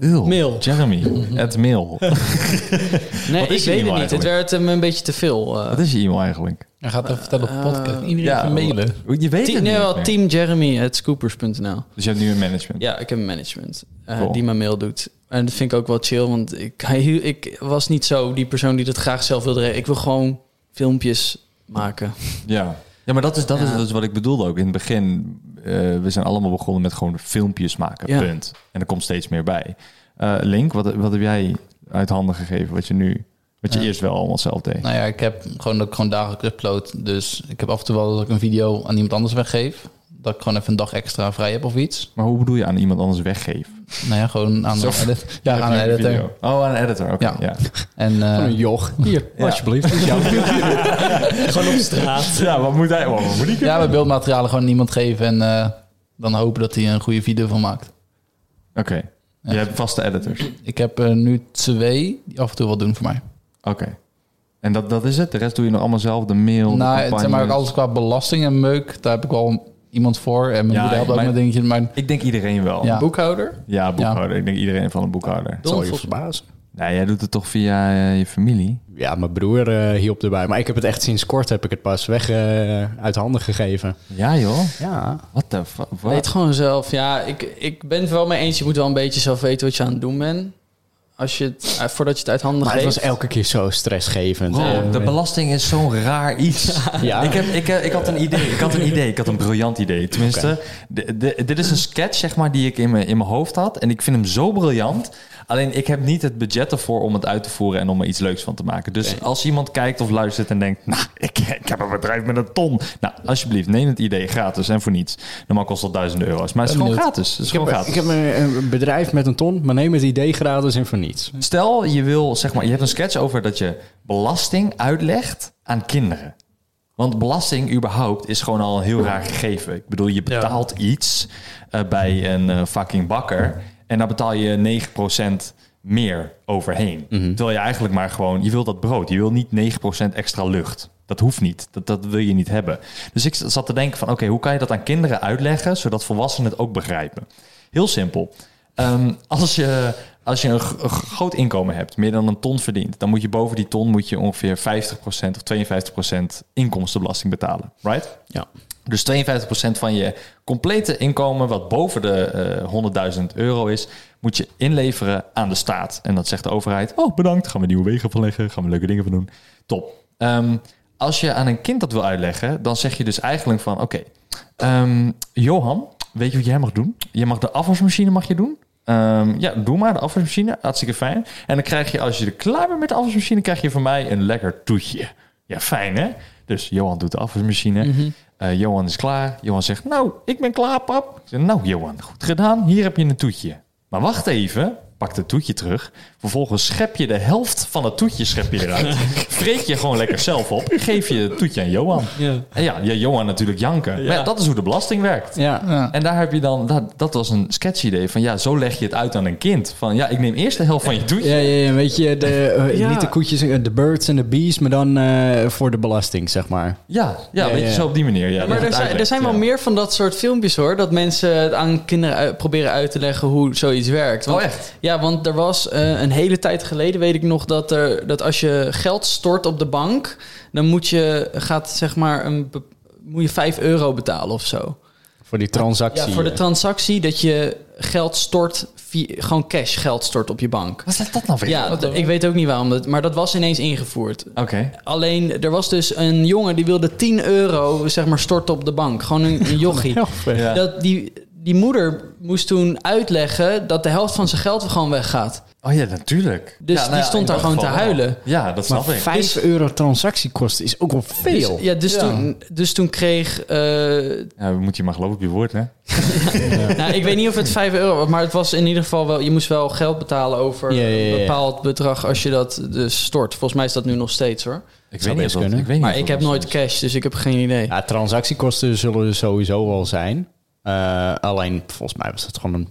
Speaker 2: Eeuw,
Speaker 4: Mail.
Speaker 2: Jeremy. Het mail. Wat
Speaker 4: Nee,
Speaker 2: is je
Speaker 4: ik weet het
Speaker 2: e-mail
Speaker 4: niet. Het werd hem een beetje te veel. eh.
Speaker 2: Wat is je e-mail eigenlijk?
Speaker 3: Hij gaat dat vertellen op de podcast. Iedereen even mailen.
Speaker 2: Je weet
Speaker 4: Team,
Speaker 2: het
Speaker 4: nee,
Speaker 2: niet
Speaker 4: wel,
Speaker 2: meer.
Speaker 4: team Jeremy at scoopers.nl.
Speaker 2: Dus je hebt nu een management.
Speaker 4: Ja, ik heb een management eh,
Speaker 2: Cool.
Speaker 4: die mijn mail doet. En dat vind ik ook wel chill, want ik, hij hiel- ik was niet zo die persoon die dat graag zelf wilde. re- Ik wil gewoon filmpjes maken.
Speaker 2: Ja. Ja, maar dat is, dat is
Speaker 4: Ja.
Speaker 2: dus wat ik bedoelde ook. In het begin, eh, we zijn allemaal begonnen met gewoon filmpjes maken,
Speaker 4: Ja.
Speaker 2: punt. En er komt steeds meer bij. Eh, Link, wat, wat heb jij uit handen gegeven wat je nu... Wat je eerst wel allemaal zelf deed?
Speaker 3: Nou ja, ik heb gewoon dat ik gewoon dagelijks upload. Dus ik heb af en toe wel dat ik een video aan iemand anders weggeef. Dat ik gewoon even een dag extra vrij heb of iets.
Speaker 2: Maar hoe bedoel je aan iemand anders weggeven?
Speaker 3: Nou ja, gewoon aan de edit. Ja, aan de editor.
Speaker 2: Video. Oh, aan een editor, oké.
Speaker 3: Ja.
Speaker 2: Ja.
Speaker 3: En eh,
Speaker 5: Een joch. Hier, alsjeblieft.
Speaker 2: ja, wat moet hij... Wat moet ik?
Speaker 3: ja, mijn beeldmaterialen gewoon aan iemand geven en eh, dan hopen dat hij een goede video van maakt.
Speaker 2: Oké. Je hebt vaste editors. Oké.
Speaker 3: Ik heb er nu twee die af en toe wat doen voor mij.
Speaker 2: En dat, dat is het? De rest doe je nog allemaal zelf? De mail, de
Speaker 3: nou, het,
Speaker 2: campagnes?
Speaker 3: zeg maar ook alles qua belasting en meuk, daar heb ik wel iemand voor. En mijn
Speaker 2: Ja,
Speaker 3: moeder helpt ook
Speaker 2: mijn-
Speaker 3: met dingetjes. Maar
Speaker 2: Ik denk iedereen wel.
Speaker 3: ja.
Speaker 4: Boekhouder?
Speaker 2: Ja, boekhouder. Ik denk iedereen van een boekhouder.
Speaker 5: Zal
Speaker 4: Don,
Speaker 5: je
Speaker 4: volgens-
Speaker 5: verbazen.
Speaker 2: Nou, jij doet het toch via eh, je familie?
Speaker 5: Ja, mijn broer eh, hielp erbij. Maar ik heb het echt sinds kort heb ik het pas weg eh, uit handen gegeven.
Speaker 2: Ja, joh.
Speaker 5: Ja.
Speaker 2: What the fuck?
Speaker 4: Weet gewoon zelf. Ja, ik, ik ben het wel mee eens. Je moet wel een beetje zelf weten wat je aan het doen bent. Als je het, eh, voordat je het uit handen
Speaker 5: Maar het
Speaker 4: geeft.
Speaker 5: was elke keer zo stressgevend.
Speaker 2: Bro,
Speaker 5: Eh,
Speaker 2: de belasting is zo'n raar iets.
Speaker 5: Ja.
Speaker 2: Ik, heb, ik, heb- ik had een idee. Ik had een idee. Ik had een briljant idee. Tenminste, de- de- dit is een sketch zeg maar, die ik in mijn, in mijn hoofd had. En ik vind hem zo briljant. Alleen ik heb niet het budget ervoor om het uit te voeren en om er iets leuks van te maken. Dus als iemand kijkt of luistert en denkt: Nou, ik, ik heb een bedrijf met een ton. Nou, alsjeblieft, neem het idee gratis en voor niets. Normaal kost dat duizenden euro's. Maar het is
Speaker 3: Ben
Speaker 2: gewoon
Speaker 3: benieuwd.
Speaker 2: gratis. Het is
Speaker 5: ik
Speaker 2: gewoon
Speaker 5: heb,
Speaker 2: gratis.
Speaker 5: ik heb een, een bedrijf met een ton, maar neem het idee gratis en voor niets.
Speaker 2: Stel, je wil, zeg maar, je hebt een sketch over dat je belasting uitlegt aan kinderen. Want belasting überhaupt is gewoon al een heel raar gegeven. Ik bedoel, je betaalt iets eh, bij een eh, fucking bakker. En daar betaal je 9% meer overheen. Terwijl je eigenlijk maar gewoon, je wil dat brood. Je wil niet 9% extra lucht. Dat hoeft niet. Dat, dat wil je niet hebben. Dus ik zat te denken van, oké, hoe kan je dat aan kinderen uitleggen... zodat volwassenen het ook begrijpen? Heel simpel. Ehm, als je, als je een, g- een groot inkomen hebt, meer dan een ton verdient, dan moet je boven die ton moet je ongeveer 50% of 52% inkomstenbelasting betalen. Right?
Speaker 5: Ja.
Speaker 2: Dus 52% van je complete inkomen, wat boven de eh 100.000 euro is, moet je inleveren aan de staat. En dat zegt de overheid: Oh, bedankt, gaan we nieuwe wegen verleggen, gaan we leuke dingen van doen. Top. Ehm, als je aan een kind dat wil uitleggen, dan zeg je dus eigenlijk van: Oké, ehm, Johan, weet je wat jij mag doen? Je mag de afwasmachine mag je doen. Ehm, ja, doe maar de afwasmachine. Hartstikke fijn. En dan krijg je, als je er klaar bent met de afwasmachine, krijg je van mij een lekker toetje. Ja, fijn hè? Dus Johan doet de afwasmachine. Eh, Johan is klaar. Johan zegt, nou, ik ben klaar, pap. Ik zeg, nou, Johan, goed gedaan. Hier heb je een toetje. Maar wacht even. Pak het toetje terug. Vervolgens schep je de helft van het toetje schep je eruit. Vreet je gewoon lekker zelf op. Geef je het toetje aan Johan.
Speaker 4: Ja.
Speaker 2: En ja, ja, Johan natuurlijk janken. Maar ja, dat is hoe de belasting werkt.
Speaker 5: Ja.
Speaker 3: Ja.
Speaker 2: En daar heb je dan, dat, dat was een sketch-idee van ja, zo leg je het uit aan een kind. Van ja, ik neem eerst de helft van je toetje.
Speaker 5: Ja, ja, ja, weet je, de, eh,
Speaker 4: Ja.
Speaker 5: niet de koetjes, eh, de birds en de bees, maar dan eh, voor de belasting, zeg maar.
Speaker 2: Ja, ja,
Speaker 5: Ja,
Speaker 2: weet je,
Speaker 5: ja.
Speaker 2: zo op die manier. Ja,
Speaker 4: maar
Speaker 2: dat
Speaker 4: er
Speaker 2: het
Speaker 4: zijn, er
Speaker 2: uitlegt,
Speaker 4: zijn wel
Speaker 2: ja.
Speaker 4: meer van dat soort filmpjes hoor. Dat mensen het aan kinderen uit- proberen uit te leggen hoe zoiets werkt. Want,
Speaker 2: Oh, echt?
Speaker 4: Ja, want er was eh, een hele tijd geleden, weet ik nog, dat, er, dat als je geld stort op de bank, dan moet je, gaat, zeg maar, een, be- moet je 5 euro betalen of zo.
Speaker 5: Voor die transactie.
Speaker 4: Ja, voor de
Speaker 5: eh.
Speaker 4: transactie dat je geld stort, via, gewoon cash geld stort op je bank.
Speaker 2: Wat is dat nou weer?
Speaker 4: Ja, d- ik weet ook niet waarom, dat, maar dat was ineens ingevoerd.
Speaker 2: Oké.
Speaker 4: Alleen, er was dus een jongen die wilde 10 euro, zeg maar, storten op de bank. Gewoon een, een jochie.
Speaker 2: Ja.
Speaker 4: Dat die, die moeder moest toen uitleggen dat de helft van zijn geld gewoon weggaat.
Speaker 2: Oh ja, natuurlijk.
Speaker 4: Dus die stond
Speaker 2: in
Speaker 4: daar
Speaker 2: dat
Speaker 4: gewoon
Speaker 2: geval
Speaker 4: te
Speaker 2: wel.
Speaker 4: huilen.
Speaker 2: Ja, dat snap ik.
Speaker 5: 5 euro transactiekosten is ook wel
Speaker 4: Dus,
Speaker 5: veel.
Speaker 4: ja, dus, Toen, dus toen kreeg... eh,
Speaker 2: Ja, moet je maar geloven op je woord, hè?
Speaker 4: nou, ik weet niet of het 5 euro was, maar het was in ieder geval wel... Je moest wel geld betalen over
Speaker 5: Ja, ja, ja, ja.
Speaker 4: een bepaald bedrag als je dat dus stort. Volgens mij is dat nu nog steeds, hoor.
Speaker 2: Ik
Speaker 5: best
Speaker 2: of dat-
Speaker 5: kunnen.
Speaker 2: weet niet of
Speaker 4: Maar ik
Speaker 2: dat
Speaker 4: heb
Speaker 2: was.
Speaker 4: nooit cash, dus ik heb geen idee.
Speaker 5: Ja, transactiekosten zullen er sowieso wel zijn. Eh, alleen, volgens mij was dat gewoon een,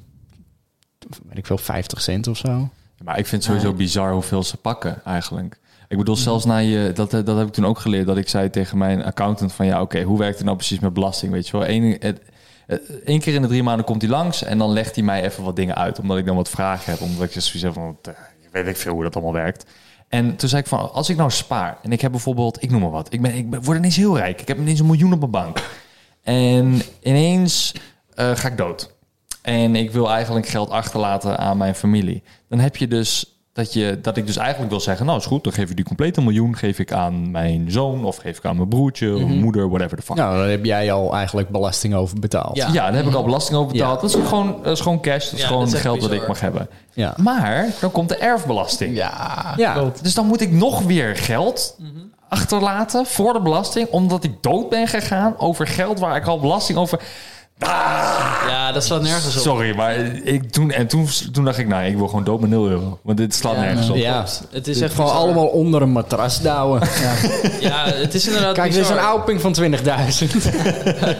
Speaker 5: weet ik veel, 50 cent of zo.
Speaker 2: Maar ik vind het sowieso bizar hoeveel ze pakken eigenlijk. Ik bedoel, zelfs na je, dat, eh, dat heb ik toen ook geleerd, dat ik zei tegen mijn accountant van ja, oké, hoe werkt het nou precies met belasting? Weet je wel, Eén het- eh, één keer in de drie maanden komt hij langs en dan legt hij mij even wat dingen uit, omdat ik dan wat vragen heb, omdat ik dus zoiets heb van, wat, eh, weet ik veel hoe dat allemaal werkt. En toen zei ik van, als ik nou spaar en ik heb bijvoorbeeld, ik noem maar wat, ik, ben, ik ben- word ineens heel rijk, ik heb ineens een miljoen op mijn bank. En ineens eh, ga ik dood. En ik wil eigenlijk geld achterlaten aan mijn familie. Dan heb je dus dat, je, dat ik dus eigenlijk wil zeggen... nou is goed, dan geef ik die complete miljoen... geef ik aan mijn zoon of geef ik aan mijn broertje... of
Speaker 5: Mhm.
Speaker 2: moeder, whatever the fuck. Ja,
Speaker 5: Nou, daar heb jij al eigenlijk belasting over betaald.
Speaker 4: Ja.
Speaker 2: daar heb ik al belasting over betaald.
Speaker 5: Ja.
Speaker 2: Dat, is ook gewoon, dat is gewoon cash, dat is
Speaker 4: Ja,
Speaker 2: gewoon
Speaker 4: dat is echt
Speaker 2: geld dat ik
Speaker 4: bizar.
Speaker 2: mag hebben.
Speaker 5: Ja.
Speaker 2: Maar dan komt de erfbelasting.
Speaker 5: ja.
Speaker 2: Dus dan moet ik nog weer geld
Speaker 4: Mhm.
Speaker 2: achterlaten voor de belasting... omdat ik dood ben gegaan over geld waar ik al belasting over... Ah,
Speaker 4: Ja, dat staat nergens op.
Speaker 2: Sorry, maar ik, toen, en toen, toen dacht ik, nou, ik wil gewoon dood met 0 euro. Want dit slaat nergens op.
Speaker 5: Ja.
Speaker 4: Het is echt
Speaker 5: Gewoon
Speaker 4: bizar.
Speaker 5: Dus allemaal onder een matras douwen.
Speaker 4: Ja, het is inderdaad
Speaker 5: Kijk, dit is
Speaker 4: bizar.
Speaker 5: een oudping van 20.000.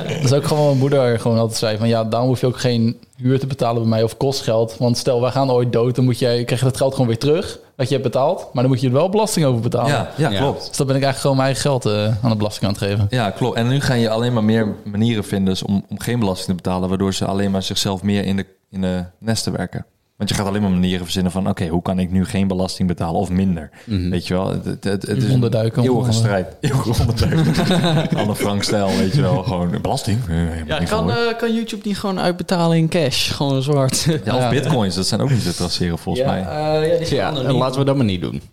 Speaker 3: Dat is ook gewoon mijn moeder gewoon altijd zei van ja, daarom hoef je ook geen huur te betalen bij mij of kostgeld. Want stel, wij gaan ooit dood, dan moet jij, krijg je dat geld gewoon weer terug wat je hebt betaald. Maar dan moet je er wel belasting over betalen.
Speaker 2: Ja, ja, klopt.
Speaker 3: Dus dan ben ik eigenlijk gewoon mijn eigen geld eh, aan de belasting aan het geven.
Speaker 2: Ja, klopt. En nu gaan je alleen maar meer manieren vinden dus om, om geen belasting te betalen, waardoor ze alleen maar zichzelf meer in de, in de nesten werken. Want je gaat alleen maar manieren verzinnen van, oké, hoe kan ik nu geen belasting betalen of minder?
Speaker 4: Mhm.
Speaker 2: Weet je wel, het, het, het, het is
Speaker 3: Onderduiken,
Speaker 2: een eeuwige
Speaker 3: onder-
Speaker 2: strijd. Eeuwige onderduiken. Anne Frank-stijl, weet je wel, gewoon belasting. Eh, helemaal
Speaker 4: Ja,
Speaker 2: niet
Speaker 4: kan,
Speaker 2: van hoor.
Speaker 4: eh, kan YouTube niet gewoon uitbetalen in cash? Gewoon zwart.
Speaker 2: ja, of bitcoins, dat zijn ook niet te traceren volgens mij.
Speaker 4: eh, ja, die zijn
Speaker 5: Ja,
Speaker 4: anoniem.
Speaker 5: laten we dat maar niet doen. Het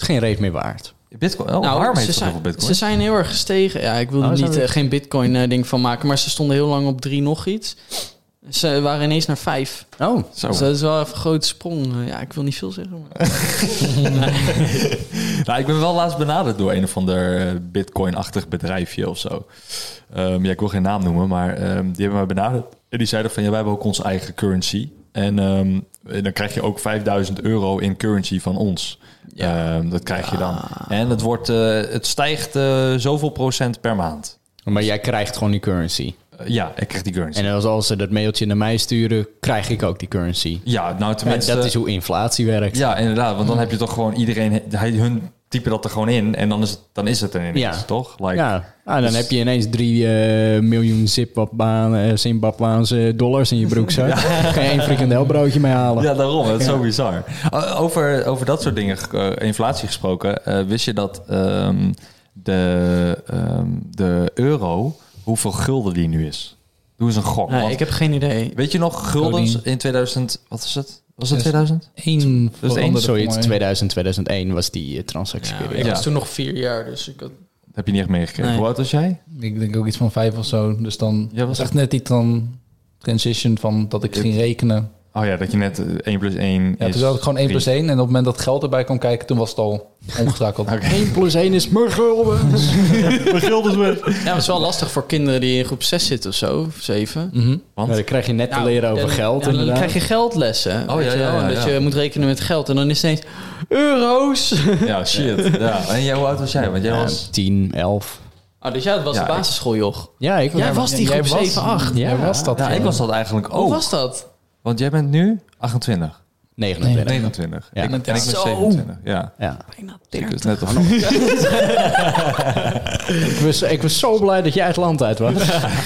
Speaker 5: is geen reet meer waard.
Speaker 2: Bitcoin, oh,
Speaker 4: Nou,
Speaker 2: waarom heeft
Speaker 4: ze,
Speaker 2: dat zoveel
Speaker 4: zijn,
Speaker 2: bitcoin?
Speaker 4: ze zijn heel erg gestegen. Ja, ik wil er
Speaker 5: Oh, zijn
Speaker 4: niet,
Speaker 5: we-
Speaker 4: eh, geen bitcoin-ding van maken, maar ze stonden heel lang op drie nog iets. Ze waren ineens naar vijf.
Speaker 5: Oh,
Speaker 2: Zo.
Speaker 4: Dus dat is wel even een grote sprong. Eh, Ja, ik wil niet veel zeggen. Maar...
Speaker 2: Nou, ik ben wel laatst benaderd door een of ander eh, bitcoin-achtig bedrijfje of zo. Ehm, ja, ik wil geen naam noemen, maar ehm, die hebben mij benaderd. En die zeiden van, ja, wij hebben ook onze eigen currency. En ehm, en dan krijg je ook 5000 euro in currency van ons. Ehm, dat krijg je dan. En het, wordt, eh, het stijgt eh, zoveel procent per maand.
Speaker 5: maar jij krijgt gewoon die currency.
Speaker 2: Eh, ja, ik krijg die currency.
Speaker 5: En als, als ze dat mailtje naar mij sturen, krijg ik ook die currency.
Speaker 2: ja, nou
Speaker 5: Ja,
Speaker 2: tenminste...
Speaker 5: dat is hoe inflatie werkt.
Speaker 2: Ja, inderdaad. Want dan heb je toch gewoon iedereen... Hij, hun typen dat er gewoon in. En dan is het, dan is het er ineens,
Speaker 5: Ja.
Speaker 2: toch? Like,
Speaker 5: Ja, ah,
Speaker 4: Dus-
Speaker 5: dan heb je ineens 3 miljoen Zimbabwaan- eh, Zimbabwaanse dollars in je broekzak. Geen één frikandelbroodje mee halen.
Speaker 2: Ja, daarom. Het is zo bizar. O- Over, over dat soort dingen, eh, inflatie gesproken. eh, wist je dat ehm, de, ehm, de euro, hoeveel gulden die nu is? Doe eens een gok.
Speaker 4: Nee,
Speaker 2: want-
Speaker 4: ik heb geen idee.
Speaker 2: Weet je nog, guldens in 2000... Wat is het? Was het 2000?
Speaker 3: Eén
Speaker 2: één
Speaker 3: veranderde
Speaker 5: Zoiets,
Speaker 3: voor mij.
Speaker 5: 2000, 2001 was die eh, transactieperiode.
Speaker 4: Ik
Speaker 2: Ja.
Speaker 4: was toen nog vier jaar, dus ik had...
Speaker 2: Dat heb je niet echt meegekregen.
Speaker 4: Nee.
Speaker 2: Hoe oud was jij?
Speaker 3: Ik denk ook iets van vijf of zo. Dus dan
Speaker 2: Ja, was
Speaker 3: was echt net die tran- transition van dat ik ging rekenen.
Speaker 2: Oh ja, dat je net eh, 1 plus 1
Speaker 3: Ja,
Speaker 2: is
Speaker 3: toen had ik gewoon 1
Speaker 2: drie.
Speaker 3: plus 1. En op het moment dat geld erbij kwam kijken, toen was het al omgeschakeld.
Speaker 5: 1 plus 1 is muggelbens.
Speaker 4: Ja, maar het is wel lastig voor kinderen die in groep 6 zitten of zo, of 7.
Speaker 5: Dan krijg je net te leren over geld.
Speaker 4: Nou, En Nou, dan
Speaker 5: inderdaad.
Speaker 4: krijg je geldlessen.
Speaker 2: Oh,
Speaker 4: weet
Speaker 2: ja,
Speaker 4: je wel,
Speaker 2: ja, ja,
Speaker 4: en
Speaker 2: ja.
Speaker 4: Dat je moet rekenen met geld. En dan is het ineens euro's.
Speaker 2: Ja, shit. Ja. En jij, hoe oud was jij? Want jij
Speaker 5: Ja,
Speaker 2: was...
Speaker 5: 10, 11.
Speaker 4: Ah, dus ja, dat was
Speaker 2: Ja,
Speaker 4: de
Speaker 2: ik-
Speaker 4: basisschool, joh.
Speaker 5: Ja, ik
Speaker 4: Jij was die
Speaker 3: jij
Speaker 4: groep
Speaker 3: was-
Speaker 4: 7, 8.
Speaker 5: Ja.
Speaker 3: Ja, was dat?
Speaker 2: Ja, ik was dat eigenlijk ook.
Speaker 4: Hoe was dat?
Speaker 2: Want jij bent nu 28.
Speaker 5: 29.
Speaker 2: 29.
Speaker 5: Ja.
Speaker 2: Ik, en ik ben
Speaker 4: Zo.
Speaker 2: 27. Ja.
Speaker 5: Ja.
Speaker 4: Bijna
Speaker 2: Dus
Speaker 4: 30.
Speaker 2: net of...
Speaker 5: Ik, was, ik was zo blij dat jij het land uit was.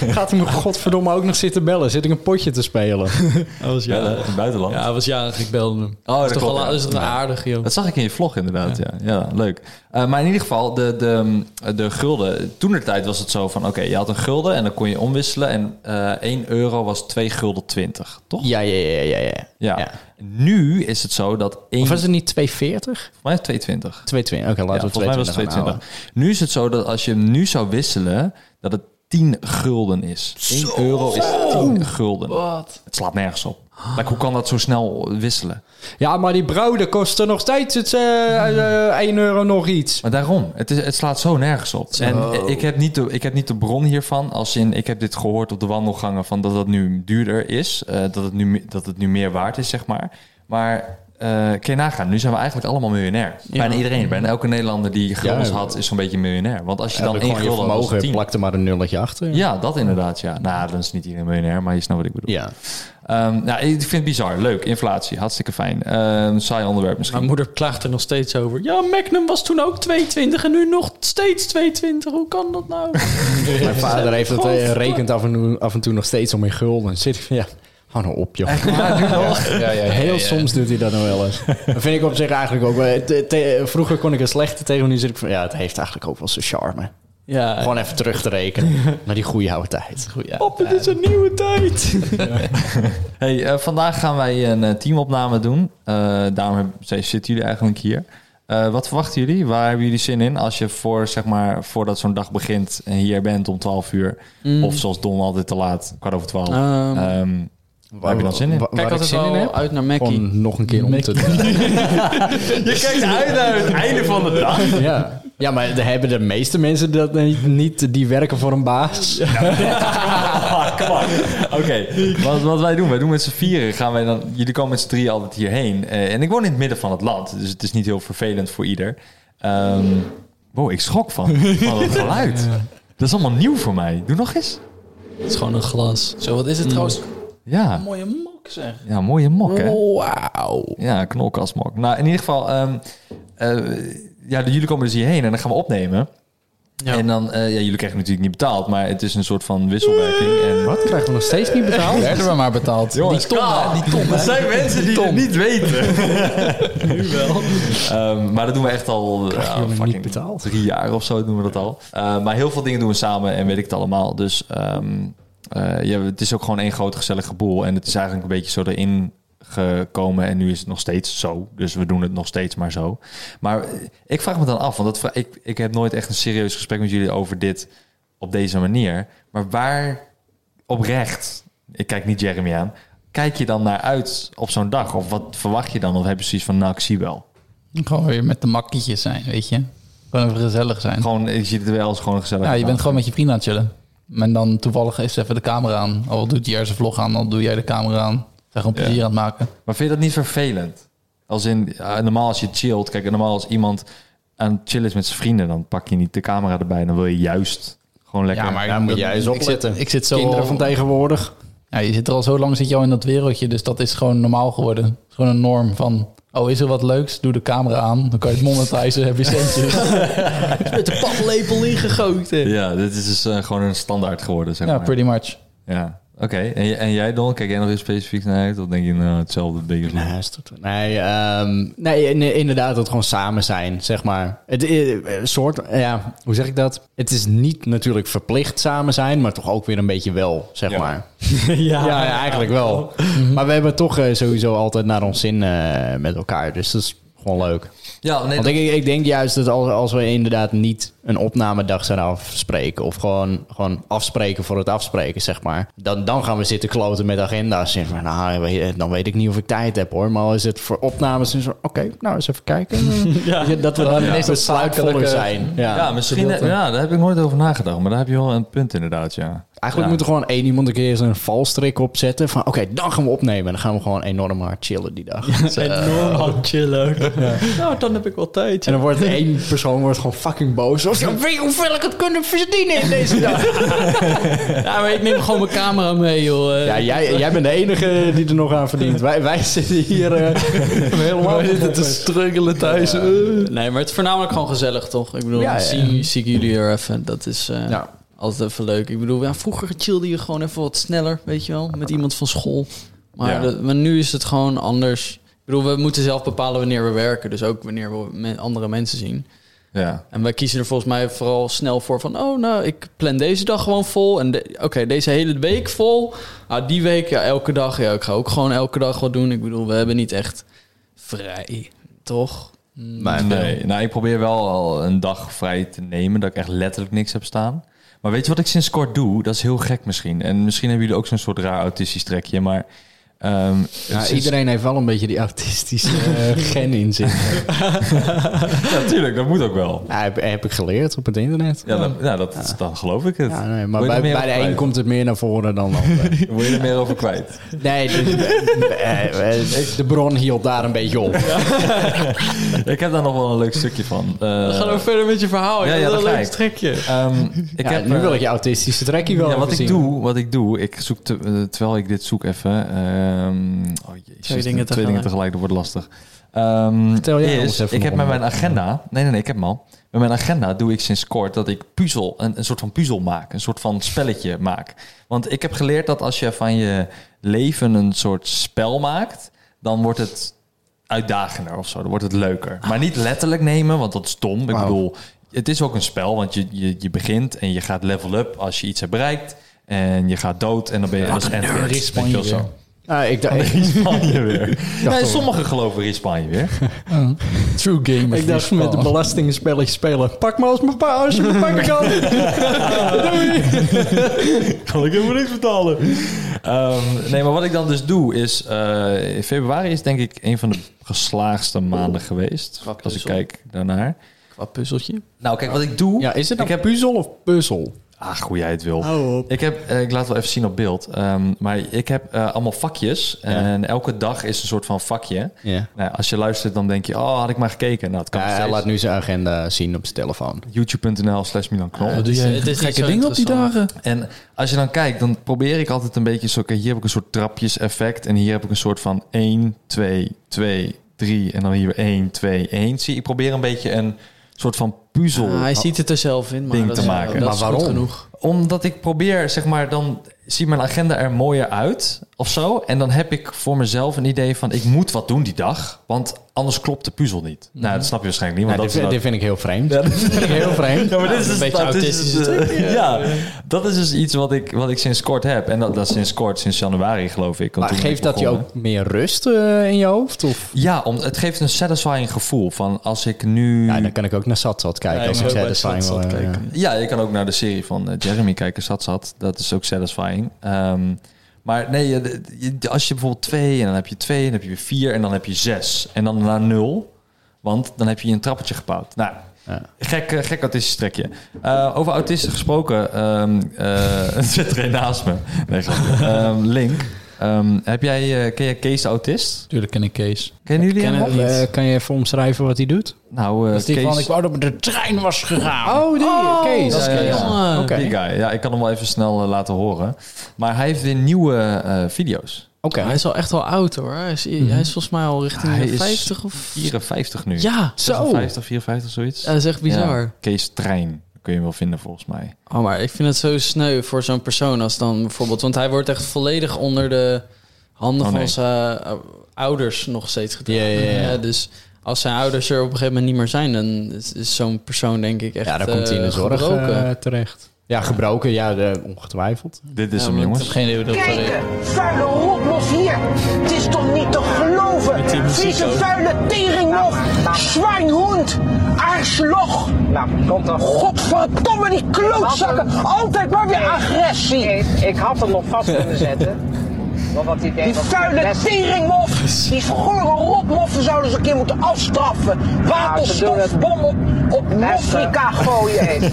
Speaker 5: Gaat hij me godverdomme ook nog zitten bellen? Zit ik een potje te spelen?
Speaker 2: Eh, Ja, in het buitenland.
Speaker 4: Ja, hij was jarig, ik belde hem.
Speaker 2: dat
Speaker 4: dat is toch
Speaker 2: klopt,
Speaker 4: wel
Speaker 2: ja.
Speaker 4: dat is toch wel aardig, joh.
Speaker 2: Dat zag ik in je vlog inderdaad, ja. ja. leuk. Eh, maar in ieder geval, de, de, de gulden. Toen de tijd was het zo van, oké, je had een gulden en dan kon je omwisselen. En eh 1 euro was 2 gulden 20, toch?
Speaker 5: Ja, ja, ja, ja. ja.
Speaker 2: Ja.
Speaker 5: ja.
Speaker 2: Nu is het zo dat 1...
Speaker 5: Of was het niet 240?
Speaker 2: Volgens mij is het 2,20.
Speaker 5: 220. Oké,
Speaker 2: Ja,
Speaker 5: laten
Speaker 2: volgens
Speaker 5: we
Speaker 2: mij
Speaker 5: 220
Speaker 2: was het
Speaker 5: gaan halen.
Speaker 2: 2,20. Nu is het zo dat als je hem nu zou wisselen, dat het 10 gulden is. 1 euro is 10 gulden.
Speaker 4: Wat?
Speaker 2: Het slaat nergens op. Like, hoe kan dat zo snel wisselen?
Speaker 5: Ja, maar die broden kosten nog steeds het, eh, eh, 1 euro nog iets.
Speaker 2: Maar daarom, het, is, het slaat zo nergens op. En ik heb, niet de, ik heb niet de bron hiervan, als in ik heb dit gehoord op de wandelgangen van dat het nu duurder is, eh, dat, het nu, me- dat het nu meer waard is, zeg maar. Maar eh kun je nagaan, nu zijn we eigenlijk allemaal miljonair. Bijna iedereen, bijna elke Nederlander die guldens
Speaker 5: Ja.
Speaker 2: had, is zo'n beetje miljonair. Want als je dan
Speaker 5: dan
Speaker 2: één
Speaker 5: gewoon je
Speaker 2: gulden had, was het
Speaker 5: vermogen,
Speaker 2: tien.
Speaker 5: plak er maar een nulletje achter.
Speaker 2: Ja, dat inderdaad, ja. Nou, dan is niet iedereen miljonair, maar je snapt wat ik bedoel.
Speaker 5: Ja.
Speaker 2: Ehm, nou, ik vind het bizar. Leuk, inflatie, hartstikke fijn. Ehm saai onderwerp misschien.
Speaker 4: Mijn moeder klaagt er nog steeds over. Ja, Magnum was toen ook 22 en nu nog steeds 22. Hoe kan dat nou?
Speaker 5: Mijn vader heeft het, eh,
Speaker 4: Godver-
Speaker 5: rekent af en, toe, af en toe nog steeds om in gulden. Zit ik van, ja, hou nou op, joh.
Speaker 3: Ja, ja, ja,
Speaker 5: Heel
Speaker 3: ja.
Speaker 5: soms doet hij dat nog wel eens. Dat vind ik op zich eigenlijk ook wel... te- te- vroeger kon ik er slechter tegen, nu zit ik van... Ja, het heeft eigenlijk ook wel zijn charme.
Speaker 4: Ja,
Speaker 5: Gewoon even terug te rekenen naar die goede oude tijd.
Speaker 3: Goed, ja.
Speaker 4: Pap, het is een nieuwe tijd.
Speaker 2: Hey, eh, vandaag gaan wij een eh, teamopname doen. Eh, daarom heb- zijn- zitten jullie eigenlijk hier. Eh, wat verwachten jullie? Waar hebben jullie zin in als je voor, zeg maar, voordat zo'n dag begint en hier bent om 12 uur? Of zoals Don altijd te laat, kwart over 12.
Speaker 4: Ehm,
Speaker 2: Ehm, waar heb je dan zin in?
Speaker 5: Wa- Waar,
Speaker 4: Kijk
Speaker 5: ik
Speaker 4: altijd
Speaker 5: zin in
Speaker 4: wel
Speaker 5: heb?
Speaker 4: uit naar Mackie.
Speaker 5: Gewoon nog een keer om te doen.
Speaker 2: Je kijkt uit naar het einde van de dag.
Speaker 5: Ja. Ja, maar de- hebben de meeste mensen dat niet- niet? Die werken voor een baas.
Speaker 2: Kom op. Oké, wat, wat wij doen, wij doen met z'n vieren. Gaan wij dan, jullie komen met z'n drieën altijd hierheen. Eh, en ik woon in het midden van het land, dus het is niet heel vervelend voor ieder. Ehm wow, ik schrok van, van het geluid. Dat is allemaal nieuw voor mij. Doe nog eens.
Speaker 4: Het is gewoon een glas.
Speaker 3: Zo, wat is het trouwens?
Speaker 2: Ja,
Speaker 3: Mooie mok zeg.
Speaker 2: ja mooie mok, hè?
Speaker 3: Wauw.
Speaker 2: Ja, knolkastmok. Nou, in ieder geval, ehm, eh, ja, jullie komen dus hierheen en dan gaan we opnemen. En dan, eh, ja, jullie krijgen natuurlijk niet betaald, maar het is een soort van wisselwerking. En...
Speaker 5: Wat krijgen we nog steeds niet
Speaker 3: Nou,
Speaker 5: betaald?
Speaker 3: werden we maar betaald.
Speaker 2: Jongens,
Speaker 3: die ton, hè, die ton. hè.
Speaker 2: Er zijn mensen die het niet weten. nu wel. Ehm, maar dat doen we echt al ja,
Speaker 5: jongen
Speaker 2: fucking
Speaker 5: niet betaald?
Speaker 2: drie jaar of zo doen we dat al. Eh, maar heel veel dingen doen we samen en weet ik het allemaal. Dus ehm, eh, ja, het is ook gewoon één groot gezellige boel. En het is eigenlijk een beetje zo erin gekomen en nu is het nog steeds zo. Dus we doen het nog steeds maar zo. Maar eh, ik vraag me dan af, want dat vra- ik, ik heb nooit echt een serieus gesprek met jullie over dit op deze manier. Maar waar oprecht, ik kijk niet Jeremy aan, kijk je dan naar uit op zo'n dag? Of wat verwacht je dan? Of heb je zoiets van, nou, ik zie wel.
Speaker 3: Gewoon weer met de makkietjes zijn, weet je. Gewoon even gezellig zijn.
Speaker 2: Gewoon, je ziet het wel als gewoon gezellig.
Speaker 3: Ja, je bent gewoon met je vrienden aan het chillen. En dan toevallig is even de camera aan. Al doet jij zijn vlog aan, dan doe jij de camera aan. Zijn gewoon plezier
Speaker 2: Ja.
Speaker 3: aan het maken.
Speaker 2: Maar vind je dat niet vervelend? Als in, ja, normaal als je chillt, kijk, normaal als iemand aan het chillen is met zijn vrienden, dan pak je niet de camera erbij. Dan wil je juist gewoon lekker...
Speaker 5: Daar moet jij eens
Speaker 3: ik zit,
Speaker 5: opletten.
Speaker 3: ik zit zo
Speaker 5: Kinderen
Speaker 3: al-
Speaker 5: van tegenwoordig.
Speaker 3: ja, je zit er al zo lang zit je al in dat wereldje, dus dat is gewoon normaal geworden. Het is gewoon een norm van, oh is er wat leuks, doe de camera aan, dan kan je het monetizen, heb je centjes.
Speaker 4: Met de paplepel ingegoten.
Speaker 2: Ja, dit is dus eh, gewoon een standaard geworden, zeg
Speaker 3: ja,
Speaker 2: maar.
Speaker 3: pretty much.
Speaker 2: Ja, oké. En, j- en jij, Don? Kijk jij nog eens specifiek naar uit? Of denk je, nou, hetzelfde ding is
Speaker 5: Nee, is tot- nee, ehm, nee, nee, inderdaad, dat gewoon samen zijn, zeg maar. Het eh, eh, soort, eh, ja, hoe zeg ik dat? Het is niet natuurlijk verplicht samen zijn, maar toch ook weer een beetje wel, zeg
Speaker 2: Ja.
Speaker 5: maar. ja, ja, eigenlijk wel. Maar we hebben toch eh, sowieso altijd naar ons zin eh, met elkaar, dus dat is gewoon leuk.
Speaker 2: Ja, nee,
Speaker 5: Want ik, ik denk juist dat als, als we inderdaad niet een opnamedag zouden afspreken... of gewoon, gewoon afspreken voor het afspreken, zeg maar... dan, dan gaan we zitten kloten met agenda's. En van, nou, weet- dan weet ik niet of ik tijd heb, hoor. Maar al is het voor opnames, dan is het van, oké, nou, eens even kijken. Ja, dat we dan ineens wat besluitvoller zijn. Ja.
Speaker 2: Ja, misschien.
Speaker 3: gedeelte.
Speaker 2: Ja, daar heb ik nooit over nagedacht. Maar daar heb je wel een punt inderdaad, ja.
Speaker 5: Eigenlijk
Speaker 2: Ja.
Speaker 5: moet er gewoon één iemand een keer eens een valstrik opzetten... van, oké, dan gaan we opnemen. En dan gaan we gewoon enorm hard chillen die dag.
Speaker 4: Enorm hard chillen. Nou, dan heb ik wel tijd.
Speaker 5: En dan wordt één persoon wordt gewoon fucking boos. Of ja, weet je hoeveel ik het kunnen verdienen in deze dag?
Speaker 4: Ja, maar ik neem gewoon mijn camera mee, joh.
Speaker 5: Ja, jij, jij bent de enige die er nog aan verdient. Wij, wij zitten hier eh, helemaal zitten te struggelen thuis. Ja.
Speaker 4: Nee, maar het is voornamelijk gewoon gezellig, toch? Ik bedoel,
Speaker 5: Ja, ja.
Speaker 4: Zie, zie ik jullie er even. Dat is eh,
Speaker 5: Ja.
Speaker 4: altijd even leuk. Ik bedoel, ja, vroeger chillde je gewoon even wat sneller, weet je wel, met iemand van school. Maar,
Speaker 2: Ja.
Speaker 4: dat- maar nu is het gewoon anders. Ik bedoel, we moeten zelf bepalen wanneer we werken. Dus ook wanneer we me- andere mensen zien.
Speaker 2: Ja.
Speaker 4: En wij kiezen er volgens mij vooral snel voor van... oh, nou, ik plan deze dag gewoon vol. En de- oké, deze hele week vol. Ah, die week, ja, elke dag. Ja, ik ga ook gewoon elke dag wat doen. Ik bedoel, we hebben niet echt vrij, toch?
Speaker 2: Nee, nee. Nou, ik probeer wel al een dag vrij te nemen. Dat ik echt letterlijk niks heb staan. Maar weet je wat ik sinds kort doe? Dat is heel gek misschien. En misschien hebben jullie ook zo'n soort raar autistisch trekje. Maar ehm, sinds-
Speaker 5: iedereen heeft wel een beetje die autistische eh, gen in zich.
Speaker 2: Ja, tuurlijk. Dat moet ook wel.
Speaker 5: Ja, heb, heb ik geleerd op het internet.
Speaker 2: Ja, dan, nou, dat, is- dan geloof ik het.
Speaker 5: Ja, nee, maar
Speaker 2: Wil je
Speaker 5: bij,
Speaker 2: er meer
Speaker 5: bij
Speaker 2: over
Speaker 5: de een
Speaker 2: kwijt?
Speaker 5: komt het meer naar voren dan de ander.
Speaker 2: Wil je er meer over kwijt?
Speaker 5: Nee, de, eh, eh, de bron hield daar een beetje op.
Speaker 2: ik heb daar nog wel een leuk stukje van. Eh,
Speaker 4: Ga dan verder met je verhaal.
Speaker 2: Ja,
Speaker 4: Ja,
Speaker 2: ja,
Speaker 4: dat
Speaker 2: dat
Speaker 4: is
Speaker 2: ga
Speaker 4: een leuk
Speaker 2: ik.
Speaker 4: trekje.
Speaker 2: ehm, ik
Speaker 5: Ja,
Speaker 2: heb,
Speaker 5: nu
Speaker 2: eh,
Speaker 5: wil ik je autistische trekje wel
Speaker 2: Ja, wat
Speaker 5: even
Speaker 2: ik,
Speaker 5: zien.
Speaker 2: doe, wat ik doe, ik zoek te- eh, terwijl ik dit zoek even. ehm, oh jezus, twee
Speaker 4: Twee dingen
Speaker 2: dingen
Speaker 4: tegelijk.
Speaker 2: tegelijk, dat wordt lastig. Ehm,
Speaker 5: Tel jij ons
Speaker 2: is,
Speaker 5: even
Speaker 2: ik heb
Speaker 5: nog
Speaker 2: met
Speaker 5: om.
Speaker 2: mijn agenda, nee, nee, nee, ik heb hem al. Met mijn agenda doe ik sinds kort dat ik puzzel, een, een soort van puzzel maak, een soort van spelletje maak. Want ik heb geleerd dat als je van je leven een soort spel maakt, dan wordt het uitdagender of zo. Dan wordt het leuker. Maar niet letterlijk nemen, want dat is dom. Ik bedoel, het is ook een spel, want je, je, je begint en je gaat level up als je iets hebt bereikt. En je gaat dood en dan ben je... Dat is end game, weet je wel zo.
Speaker 5: Ah, ik, dacht,
Speaker 2: In Spanje weer. Nee,
Speaker 5: al.
Speaker 2: sommigen geloven in Spanje weer.
Speaker 3: True game.
Speaker 5: ik dacht
Speaker 4: Oh,
Speaker 5: met
Speaker 4: dus
Speaker 5: de belastingspelletje spelen. Pak me als mijn pa, als je me pakken kan.
Speaker 2: Kan ik helemaal niks betalen. Ehm, nee, maar wat ik dan dus doe is... eh, in februari is denk ik een van de geslaagste maanden geweest.
Speaker 4: Qua
Speaker 2: als ik
Speaker 4: puzzel.
Speaker 2: kijk daarnaar.
Speaker 4: Wat puzzeltje?
Speaker 2: Nou, kijk, wat ik doe...
Speaker 5: Ja, is het
Speaker 2: ik
Speaker 5: nou
Speaker 2: heb,
Speaker 5: puzzel of puzzel?
Speaker 2: Ach, hoe jij het wil.
Speaker 4: Oh,
Speaker 5: Hou op.
Speaker 2: Ik, heb, eh, ik laat wel even zien op beeld. Ehm, maar ik heb eh, allemaal vakjes. En elke dag is een soort van vakje.
Speaker 5: Ja.
Speaker 2: Nou, als je luistert, dan denk je... Oh, had ik maar gekeken. Nou, het kan
Speaker 5: Ja,
Speaker 2: nog
Speaker 5: hij
Speaker 2: steeds.
Speaker 5: laat nu zijn agenda zien op zijn telefoon.
Speaker 2: YouTube.nl slash Milan Knol.
Speaker 3: Wat doe
Speaker 4: Het is-
Speaker 3: jij
Speaker 4: het is niet
Speaker 3: gekke
Speaker 4: zo
Speaker 3: dingen op die
Speaker 4: interessant.
Speaker 3: dagen?
Speaker 2: En als je dan kijkt, dan probeer ik altijd een beetje zo... Oké, hier heb ik een soort trapjes effect. En hier heb ik een soort van 1, 2, 2, 3. En dan hier weer 1, 2, 1. Zie, je, ik probeer een beetje een soort van puzzel.
Speaker 3: Ah,
Speaker 4: Ah,
Speaker 2: Oh,
Speaker 4: hij ziet het er zelf in, maar
Speaker 2: Ding
Speaker 4: dat
Speaker 2: te
Speaker 4: is,
Speaker 2: maken.
Speaker 4: dat
Speaker 2: Maar
Speaker 4: is goed
Speaker 5: waarom?
Speaker 4: genoeg.
Speaker 2: Omdat ik probeer, zeg maar, dan ziet mijn agenda er mooier uit of zo. En dan heb ik voor mezelf een idee van, ik moet wat doen die dag. Want anders klopt de puzzel niet. Nou, dat snap je waarschijnlijk niet.
Speaker 5: Ja,
Speaker 2: Want
Speaker 5: dit,
Speaker 2: dat is nou-
Speaker 5: dit vind ik heel vreemd. dat vind ik heel vreemd.
Speaker 2: ja, maar dit is dus-
Speaker 4: een beetje
Speaker 2: dat is
Speaker 4: autistisch
Speaker 2: dus, eh, ja, dat is dus iets wat ik, wat ik sinds kort heb. En dat, dat is sinds kort, sinds januari geloof ik. want
Speaker 5: Maar
Speaker 2: toen ben
Speaker 5: geeft
Speaker 2: ik
Speaker 5: dat je
Speaker 2: begonnen.
Speaker 5: ook meer rust eh, in je hoofd? Of?
Speaker 2: Ja, om, het geeft een satisfying gevoel van als ik nu...
Speaker 5: Ja, dan kan ik ook naar Satsat kijken als ik
Speaker 4: ook bij
Speaker 5: satisfying wil.
Speaker 4: Satsat
Speaker 5: eh,
Speaker 4: kijken.
Speaker 5: ja.
Speaker 2: Ja, je kan ook naar de serie van eh, Jeremy kijken, Zat Zat. Dat is ook satisfying. Ehm, maar nee, je- de- je- als je bijvoorbeeld twee en dan heb je twee en dan heb je weer vier en dan heb je zes. En dan naar nul, want dan heb je een trappetje gebouwd. Nou,
Speaker 5: Ja.
Speaker 2: gek, eh, gek autistisch trekje. Eh, over autisten gesproken, ehm eh, het zit er een naast me. Nee, grapje. Ehm, Link, ehm, heb jij, eh, ken jij Kees de autist?
Speaker 3: Tuurlijk ken ik Kees.
Speaker 2: Kennen jullie hem? nog?
Speaker 5: Eh, kan je even omschrijven wat hij doet?
Speaker 2: Nou, eh,
Speaker 3: Dat is die
Speaker 2: Kees...
Speaker 3: van, ik wou dat met de trein was gegaan.
Speaker 5: Oh, die. Kees.
Speaker 2: dat is Kees.
Speaker 5: Oké.
Speaker 2: Die guy. Ja, ik kan hem wel even snel eh, laten horen. Maar hij heeft weer nieuwe eh, video's.
Speaker 5: Oké.
Speaker 4: Hij is al echt wel oud hoor. Hij is, hij is volgens mij al richting
Speaker 2: Mhm. Hij
Speaker 4: de
Speaker 2: is
Speaker 4: 50 of...
Speaker 2: 54 nu.
Speaker 4: Ja,
Speaker 5: Zo.
Speaker 2: 50, 54, zoiets.
Speaker 4: Ja, dat is echt bizar.
Speaker 2: Ja, Kees Trein kun je hem wel vinden volgens mij.
Speaker 4: Oh, maar ik vind het zo sneu voor zo'n persoon als dan bijvoorbeeld... Want hij wordt echt volledig onder de handen
Speaker 2: Oh, nee.
Speaker 4: van zijn eh, ouders nog steeds gedragen.
Speaker 5: Ja, ja, ja.
Speaker 4: Hè, Dus als zijn ouders er op een gegeven moment niet meer zijn... dan is, is zo'n persoon denk ik echt
Speaker 5: Ja, daar komt hij in de
Speaker 4: eh,
Speaker 5: zorg
Speaker 4: gebroken.
Speaker 5: eh, terecht. Ja, gebroken. Ja, de- ongetwijfeld.
Speaker 2: Dit is
Speaker 4: Ja,
Speaker 2: hem,
Speaker 4: maar
Speaker 2: jongens.
Speaker 4: het-
Speaker 3: Geen idee hoe dat
Speaker 7: Kijken, vuile rotmos hier. Het is toch niet te geloven. Vieze vuile teringnog. Zwijnhond. Aarsloch. Nou, komt dan. Godverdomme, die klootzakken. Altijd maar weer agressie.
Speaker 8: Ik had hem nog vast kunnen zetten. Maar wat hij deed
Speaker 7: Die
Speaker 8: was
Speaker 7: vuile
Speaker 8: best-
Speaker 7: teringmof. Die gore rotmoffen zouden ze een keer moeten afstraffen. Waterstofbom op, op Mofrika gooien.
Speaker 2: Ja,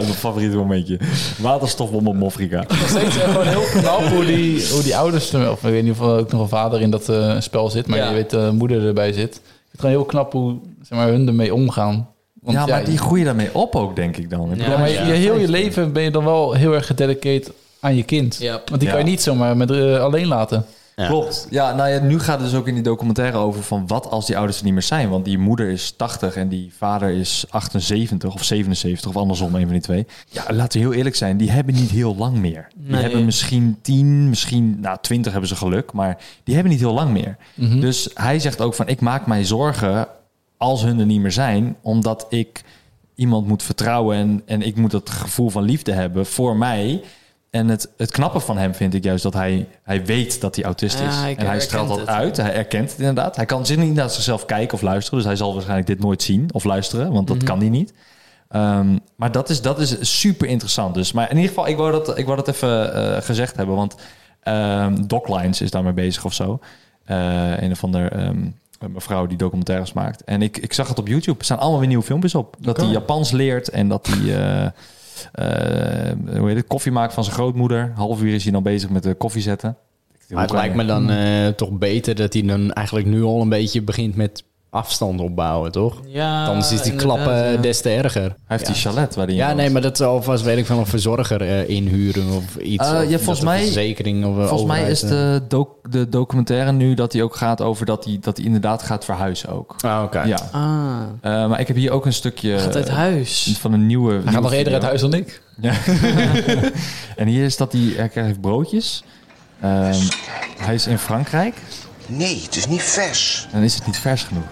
Speaker 2: mijn favoriete momentje. Waterstofbom op Mofrika.
Speaker 3: nog steeds echt gewoon heel knap hoe die, hoe die ouders... er- Of ik weet niet of er ook nog een vader in dat eh, spel zit. Maar
Speaker 4: Ja.
Speaker 3: je weet de moeder erbij zit. Ik vind het gewoon heel knap hoe zeg maar, hun ermee omgaan. Want
Speaker 2: Ja, maar
Speaker 3: ja,
Speaker 2: die groeien daarmee op ook, denk ik dan.
Speaker 3: ja, maar je- je, heel je leven ben je dan wel heel erg gededicateerd aan je kind.
Speaker 4: Ja.
Speaker 3: Want die kan je
Speaker 2: Ja.
Speaker 3: niet zomaar met, eh, alleen laten.
Speaker 5: Ja.
Speaker 2: Klopt. Ja, nou ja, nu gaat het dus ook in die documentaire over van wat als die ouders er niet meer zijn. Want die moeder is 80 en die vader is 78 of 77 of andersom, een van die twee. Ja, laten we heel eerlijk zijn, die hebben niet heel lang meer. Die
Speaker 4: Nee.
Speaker 2: hebben misschien 10, misschien nou, 20 hebben ze geluk, maar die hebben niet heel lang meer. Dus hij zegt ook van ik maak mij zorgen als hun er niet meer zijn, omdat ik iemand moet vertrouwen en, en ik moet dat gevoel van liefde hebben voor mij. En het, het knappe van hem vind ik juist dat hij, hij weet dat hij autist
Speaker 4: Ja,
Speaker 2: is.
Speaker 4: hij
Speaker 2: en hij straalt dat
Speaker 4: herkent het.
Speaker 2: uit. Hij erkent het inderdaad. Hij kan zich niet naar zichzelf kijken of luisteren. Dus hij zal waarschijnlijk dit nooit zien of luisteren. Want
Speaker 4: Mhm.
Speaker 2: dat kan hij niet. Ehm, maar dat is, dat is super interessant. Dus. Maar in ieder geval, ik wou dat, ik wou dat even eh, gezegd hebben. Want ehm Doclines is daarmee bezig of zo. Eh, een of ander ehm, een mevrouw die documentaires maakt. En ik, ik zag het op YouTube. Er staan allemaal weer nieuwe filmpjes op. Dat hij Japans leert en dat hij... eh, eh, hoe heet het, koffie maken van zijn grootmoeder. Half uur is hij dan bezig met de koffie zetten.
Speaker 5: Maar het lijkt me dan eh, toch beter dat hij dan eigenlijk nu al een beetje begint met afstand opbouwen, toch?
Speaker 4: Ja,
Speaker 5: Anders is die
Speaker 4: Ah, inderdaad,
Speaker 5: klap eh,
Speaker 4: ja.
Speaker 5: des te erger.
Speaker 2: Hij heeft die chalet waar hij in
Speaker 5: Ja,
Speaker 2: woont.
Speaker 5: nee, maar dat zal vast, weet ik van, een verzorger eh, inhuren of iets.
Speaker 2: Eh,
Speaker 5: Of
Speaker 2: ja,
Speaker 5: dat
Speaker 2: volgens
Speaker 5: een
Speaker 2: mij-
Speaker 5: Verzekering of een
Speaker 2: Volgens mij is
Speaker 5: overheid, eh.
Speaker 2: de, doc- de documentaire nu dat hij ook gaat over dat hij, dat hij inderdaad gaat verhuizen ook.
Speaker 5: Ah, oké.
Speaker 2: Ja.
Speaker 4: Ah,
Speaker 2: Eh, maar ik heb hier ook een stukje
Speaker 5: Eh,
Speaker 4: gaat uit huis.
Speaker 2: van een nieuwe. nieuwe
Speaker 3: Hij gaat nog eerder uit
Speaker 2: video.
Speaker 3: huis dan ik.
Speaker 2: En hier is dat hij, hij krijgt broodjes. Ehm, hij is in Frankrijk.
Speaker 9: Nee, het is niet vers.
Speaker 2: Dan is het niet vers genoeg.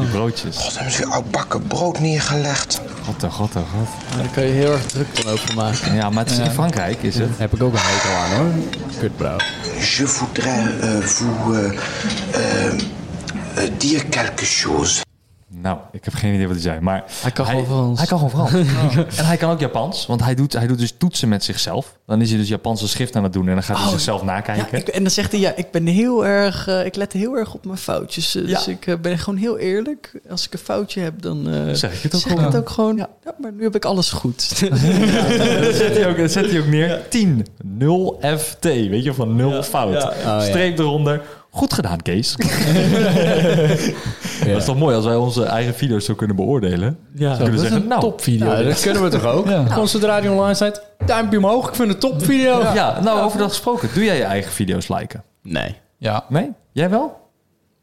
Speaker 2: Die broodjes.
Speaker 9: Wat hebben ze weer oudbakken brood neergelegd?
Speaker 2: God, oh god, oh god.
Speaker 4: Daar kan je heel erg druk van over maken.
Speaker 2: Ja, maar het is in Frankrijk, is het?
Speaker 5: Heb ik ook een hekel aan hoor. Kutbrouw.
Speaker 9: Je euh, voudrais eh, vous eh, eh, eh, dire quelque euh, chose.
Speaker 2: Nou, ik heb geen idee wat hij zei. Maar
Speaker 4: Hij kan gewoon Frans.
Speaker 2: Hij kan gewoon Frans. En hij kan ook Japans, want hij doet, hij doet dus toetsen met zichzelf. Dan is hij dus Japanse schrift aan het doen en dan gaat hij zichzelf
Speaker 4: Ja,
Speaker 2: nakijken.
Speaker 4: ik, en dan zegt hij, ja, ik ben heel erg, eh, ik let heel erg op mijn foutjes. eh, Dus
Speaker 2: Ja.
Speaker 4: ik eh, ben gewoon heel eerlijk. Als ik een foutje heb, dan eh,
Speaker 2: Zeg ik het ook
Speaker 4: zeg
Speaker 2: gewoon.
Speaker 4: het ook gewoon. Ja. maar nu heb ik alles goed.
Speaker 2: dat, zet hij ook, dat zet hij ook neer. 10, 0 FT, weet je, van 0 fout.
Speaker 5: ja.
Speaker 2: Streep eronder. Goed gedaan, Kees. Dat is toch mooi als wij onze eigen video's zo kunnen beoordelen.
Speaker 4: Ja,
Speaker 2: Ze kunnen zeggen, nou,
Speaker 3: Topvideo.
Speaker 5: Ja, dat kunnen we toch ook? Gewoon zodra die online staat, duimpje omhoog. Ik vind het top video.
Speaker 2: ja, nou over dat gesproken. Doe jij je eigen video's liken?
Speaker 5: Nee.
Speaker 3: Ja,
Speaker 2: Nee? Jij wel?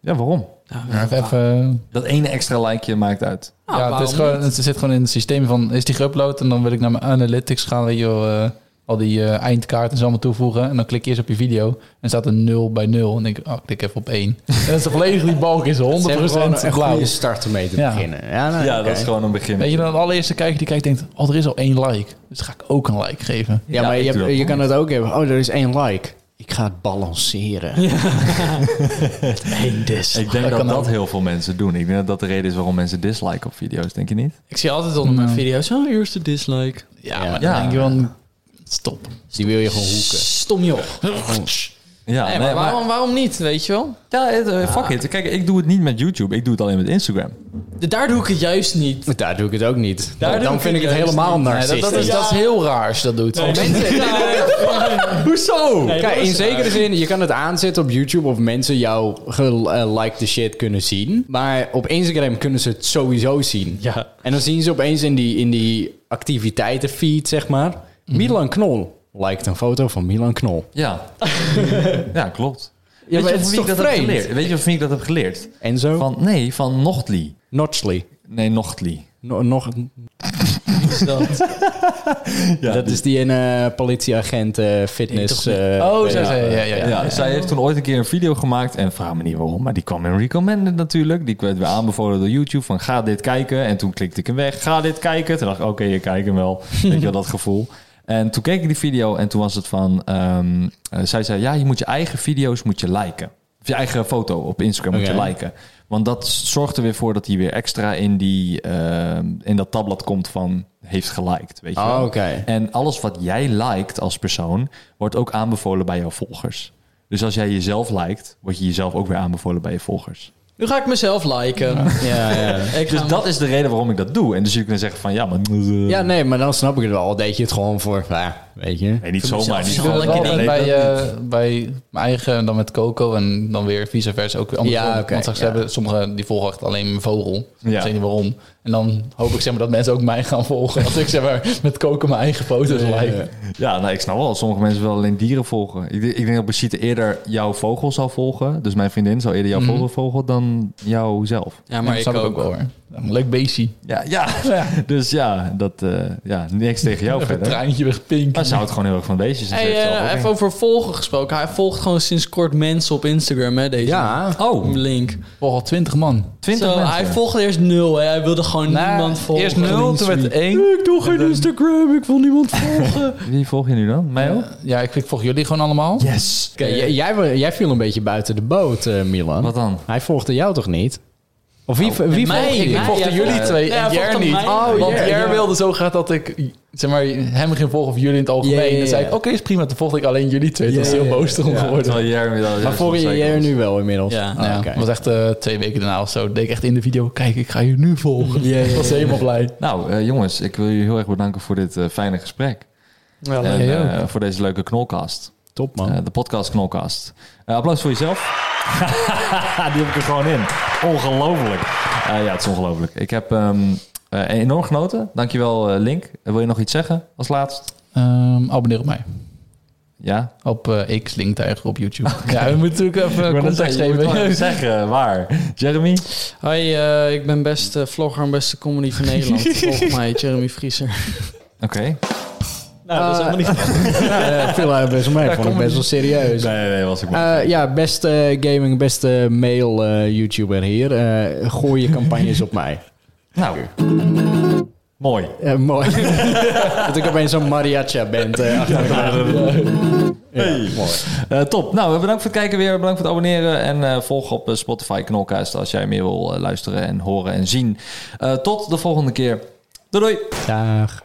Speaker 2: Ja, waarom?
Speaker 3: ja, even... eh,
Speaker 2: Dat ene extra likeje maakt uit.
Speaker 3: ja, het, is gewoon, het zit gewoon in het systeem van, is die geüpload en dan wil ik naar mijn analytics gaan, weet je wel, eh, al die eh, eindkaarten en zo allemaal toevoegen. En dan klik je eerst op je video en staat er 0 bij 0. En denk ik, oh, ik klik even op 1. en dat is volledig, die balk is 100%
Speaker 5: Ze hebben gewoon een
Speaker 3: blauw.
Speaker 5: goede start ermee te
Speaker 3: Ja.
Speaker 5: beginnen. Ja, nou,
Speaker 2: Ja,
Speaker 5: oké.
Speaker 2: dat is gewoon een begin.
Speaker 3: Weet je, dan de allereerste kijker die kijkt denkt, oh, er is al één like. Dus ga ik ook een like geven.
Speaker 5: Ja,
Speaker 2: Ja,
Speaker 5: maar
Speaker 2: ik
Speaker 5: je,
Speaker 2: doe
Speaker 5: hebt-
Speaker 2: dat
Speaker 5: je
Speaker 2: ook
Speaker 5: kan het ook hebben. Oh, er is één like. Ik ga het balanceren.
Speaker 4: één dis.
Speaker 2: Ik denk
Speaker 3: Dat
Speaker 2: dat
Speaker 3: kan
Speaker 2: dat
Speaker 3: ook.
Speaker 2: heel veel mensen doen. Ik denk dat dat de reden is waarom mensen disliken op video's, denk je niet?
Speaker 4: Ik zie altijd onder mijn video's, oh, eerste dislike.
Speaker 3: Ja,
Speaker 5: Ja.
Speaker 3: maar dan
Speaker 2: Ja.
Speaker 3: denk je van, stop.
Speaker 5: Die wil je gewoon hoeken.
Speaker 4: Stom joh.
Speaker 2: Ja,
Speaker 4: Nee, maar waarom, waarom niet, weet je wel?
Speaker 2: ja het, eh, fuck it. Kijk, ik doe het niet met YouTube. Ik doe het alleen met Instagram.
Speaker 4: De- Daar doe ik het juist niet.
Speaker 5: Maar Daar doe ik het ook niet.
Speaker 4: Daar doe
Speaker 5: dan
Speaker 4: ik
Speaker 5: vind ik
Speaker 4: het
Speaker 5: het
Speaker 4: juist
Speaker 5: helemaal
Speaker 4: niet.
Speaker 3: Nee, dat,
Speaker 5: narcistisch.
Speaker 3: dat, is, dat is heel raar als je dat doet.
Speaker 2: Hoezo?
Speaker 5: Kijk, in zekere zin, je kan het aanzetten op YouTube of mensen jouw gelikte shit kunnen zien. Maar op Instagram kunnen ze het sowieso zien.
Speaker 4: Ja.
Speaker 5: En dan zien ze opeens in die, in die activiteitenfeed, zeg maar,
Speaker 3: Mhm.
Speaker 5: Milan Knol. Liked een foto van Milan Knol.
Speaker 2: Ja. ja, klopt.
Speaker 5: maar
Speaker 2: Weet je
Speaker 5: het is
Speaker 2: van wie ik
Speaker 5: toch
Speaker 2: dat heb
Speaker 5: vreemd?
Speaker 2: geleerd? Weet je van wie ik dat heb geleerd?
Speaker 5: En zo? Van
Speaker 2: Van, nee, van Nochtli.
Speaker 5: Notchley.
Speaker 2: Nee, Nochtli.
Speaker 5: No- nog, dat is die ene politieagent eh, fitness. eh,
Speaker 3: Oh, zo, zo, ja, ja, ja.
Speaker 2: Ja, zij heeft toen ooit een keer een video gemaakt. En vraag me niet waarom, maar die kwam in recommended natuurlijk. Die werd weer aanbevolen door YouTube van ga dit kijken. En toen klikte ik hem weg. Ga dit kijken. Toen dacht ik, oké, je kijkt hem wel. Weet je wel, dat gevoel. En toen keek ik die video en toen was het van... ehm, eh, zij zei, ja, je moet je eigen video's moet je liken. Of je eigen foto op Instagram moet
Speaker 5: Oké.
Speaker 2: je liken. Want dat zorgt er weer voor dat hij weer extra in, die, ehm, in dat tabblad komt van heeft geliked. Weet je
Speaker 5: Oh,
Speaker 2: wel.
Speaker 5: oké.
Speaker 2: En alles wat jij liked als persoon, wordt ook aanbevolen bij jouw volgers. Dus als jij jezelf liked, word je jezelf ook weer aanbevolen bij je volgers.
Speaker 4: Nu ga ik mezelf liken.
Speaker 5: Ja, ja.
Speaker 4: Ik ga
Speaker 2: Dus dat is de reden waarom ik dat doe. En dus jullie kunnen zeggen van ja, maar...
Speaker 5: ja, nee, maar dan snap ik het wel. Al deed je het gewoon voor, ah, weet je.
Speaker 2: Nee, niet zomaar. Niet
Speaker 3: Ik doe
Speaker 2: zomaar.
Speaker 3: dat wel
Speaker 2: Nee,
Speaker 3: bij,
Speaker 2: dat niet.
Speaker 3: eh, bij mijn eigen en dan met Coco en dan weer vice versa ook weer andersom.
Speaker 5: Ja, oké,
Speaker 3: Want straks
Speaker 5: ja.
Speaker 3: hebben sommigen die volgen echt alleen mijn vogel.
Speaker 2: Ja.
Speaker 3: Ik weet niet waarom. En dan hoop ik zeg maar dat mensen ook mij gaan volgen. Als ik zeg maar met Coco mijn eigen foto's like.
Speaker 2: Ja, nou, ik snap wel. Sommige mensen willen alleen dieren volgen. Ik, denk- ik denk dat Brigitte eerder jouw vogel zou volgen. Dus mijn vriendin zou eerder jouw
Speaker 4: Mhm.
Speaker 2: vogel volgen dan jouzelf.
Speaker 4: Ja,
Speaker 3: Maar ik snap ik ook wel hoor. Ja, een Leuk beestje.
Speaker 2: Ja, ja. Dus ja, dat, eh, ja, niks tegen jou
Speaker 3: Even een
Speaker 2: verder.
Speaker 3: traantje wegpinken.
Speaker 2: Maar zou het gewoon heel erg van deze zijn.
Speaker 4: Hey,
Speaker 3: Dus
Speaker 2: Ze heeft zelf
Speaker 4: eh,
Speaker 2: ook
Speaker 4: even
Speaker 2: een-
Speaker 4: over volgen gesproken. Hij volgt gewoon sinds kort mensen op Instagram, hè, deze
Speaker 5: Ja.
Speaker 2: Oh,
Speaker 4: link.
Speaker 3: Volg al twintig man. Nou,
Speaker 2: 20
Speaker 4: Zo,
Speaker 2: mensen.
Speaker 4: hij volgde eerst nul, hè. Hij wilde gewoon niemand volgen.
Speaker 3: Eerst nul, toen werd het één.
Speaker 4: Ik doe geen Instagram, ik wil niemand volgen.
Speaker 2: Wie volg je nu dan? Mij ook?
Speaker 3: Ja, ik, ik volg jullie gewoon allemaal.
Speaker 2: Yes.
Speaker 5: Oké, jij- jij, wa- jij viel een beetje buiten de boot, eh, Milan.
Speaker 2: Wat dan?
Speaker 5: Hij volgde jou toch niet? Of wie, wie
Speaker 4: Oh. mij,
Speaker 5: volgde
Speaker 4: mij.
Speaker 5: je?
Speaker 3: Ik volgde
Speaker 4: ja,
Speaker 3: jullie
Speaker 4: ja.
Speaker 3: twee
Speaker 4: Ja,
Speaker 3: en
Speaker 4: hij
Speaker 3: Jer
Speaker 4: volgde
Speaker 3: niet.
Speaker 4: mij.
Speaker 3: want
Speaker 4: Oh, Jer,
Speaker 3: Jer
Speaker 4: ja.
Speaker 3: wilde zo graag dat ik zeg maar, hem ging volgen of jullie in het algemeen.
Speaker 4: Ja, ja, ja.
Speaker 3: Dan zei ik, oké, is prima. Toen volgde ik alleen jullie twee. Toen was hij heel boos erom geworden.
Speaker 2: Terwijl Jeremy dat-
Speaker 5: Maar
Speaker 2: ja,
Speaker 5: volg je
Speaker 2: soms
Speaker 5: jij
Speaker 2: zei
Speaker 5: er
Speaker 2: ik
Speaker 5: nu wel inmiddels?
Speaker 4: Ja.
Speaker 5: Ah,
Speaker 3: Ja,
Speaker 5: oké.
Speaker 3: het was echt eh, twee weken daarna of zo. Deed ik echt in de video, kijk, ik ga je nu volgen. Ik was helemaal blij.
Speaker 2: dat. Nou, eh, jongens, ik wil jullie heel erg bedanken voor dit eh, fijne gesprek. en
Speaker 3: jij ook.
Speaker 2: eh, voor deze leuke knolcast.
Speaker 5: Top, man.
Speaker 2: Eh, de podcast knolcast. Eh, applaus voor jezelf. Die heb ik er gewoon in. Ongelooflijk. Eh, ja, het is ongelooflijk. Ik heb ehm, eh, enorm genoten. Dankjewel, eh, Link. Eh, wil je nog iets zeggen als laatst?
Speaker 3: Ehm, abonneer op mij.
Speaker 2: Ja?
Speaker 3: Op eh, X, LinkedIn, eigenlijk op YouTube. Ja, we moeten natuurlijk even
Speaker 2: Ik wou net
Speaker 3: context
Speaker 2: zeggen, je moet wel
Speaker 3: geven.
Speaker 2: even zeggen, waar? Jeremy?
Speaker 4: Hoi, eh, ik ben beste vlogger en beste comedy van Nederland. Volg mij, Jeremy Vrieser.
Speaker 2: Oké.
Speaker 5: Eh, Ja, veel uit best wel mee. vond ik best wel serieus.
Speaker 2: Nee, nee, was ik maar.
Speaker 5: Eh, ja, beste gaming, beste male eh, YouTuber hier. Eh, gooi je campagnes op mij.
Speaker 2: nou, Mooi.
Speaker 5: Eh, mooi. dat ik opeens zo'n mariacha bent. eh, achter elkaar.
Speaker 2: Eh, top. Nou, bedankt voor het kijken weer. Bedankt voor het abonneren. En eh, volg op eh, Spotify Knolcast als jij meer wil eh, luisteren en horen en zien. Eh, tot de volgende keer. Doei doei.
Speaker 5: Dag.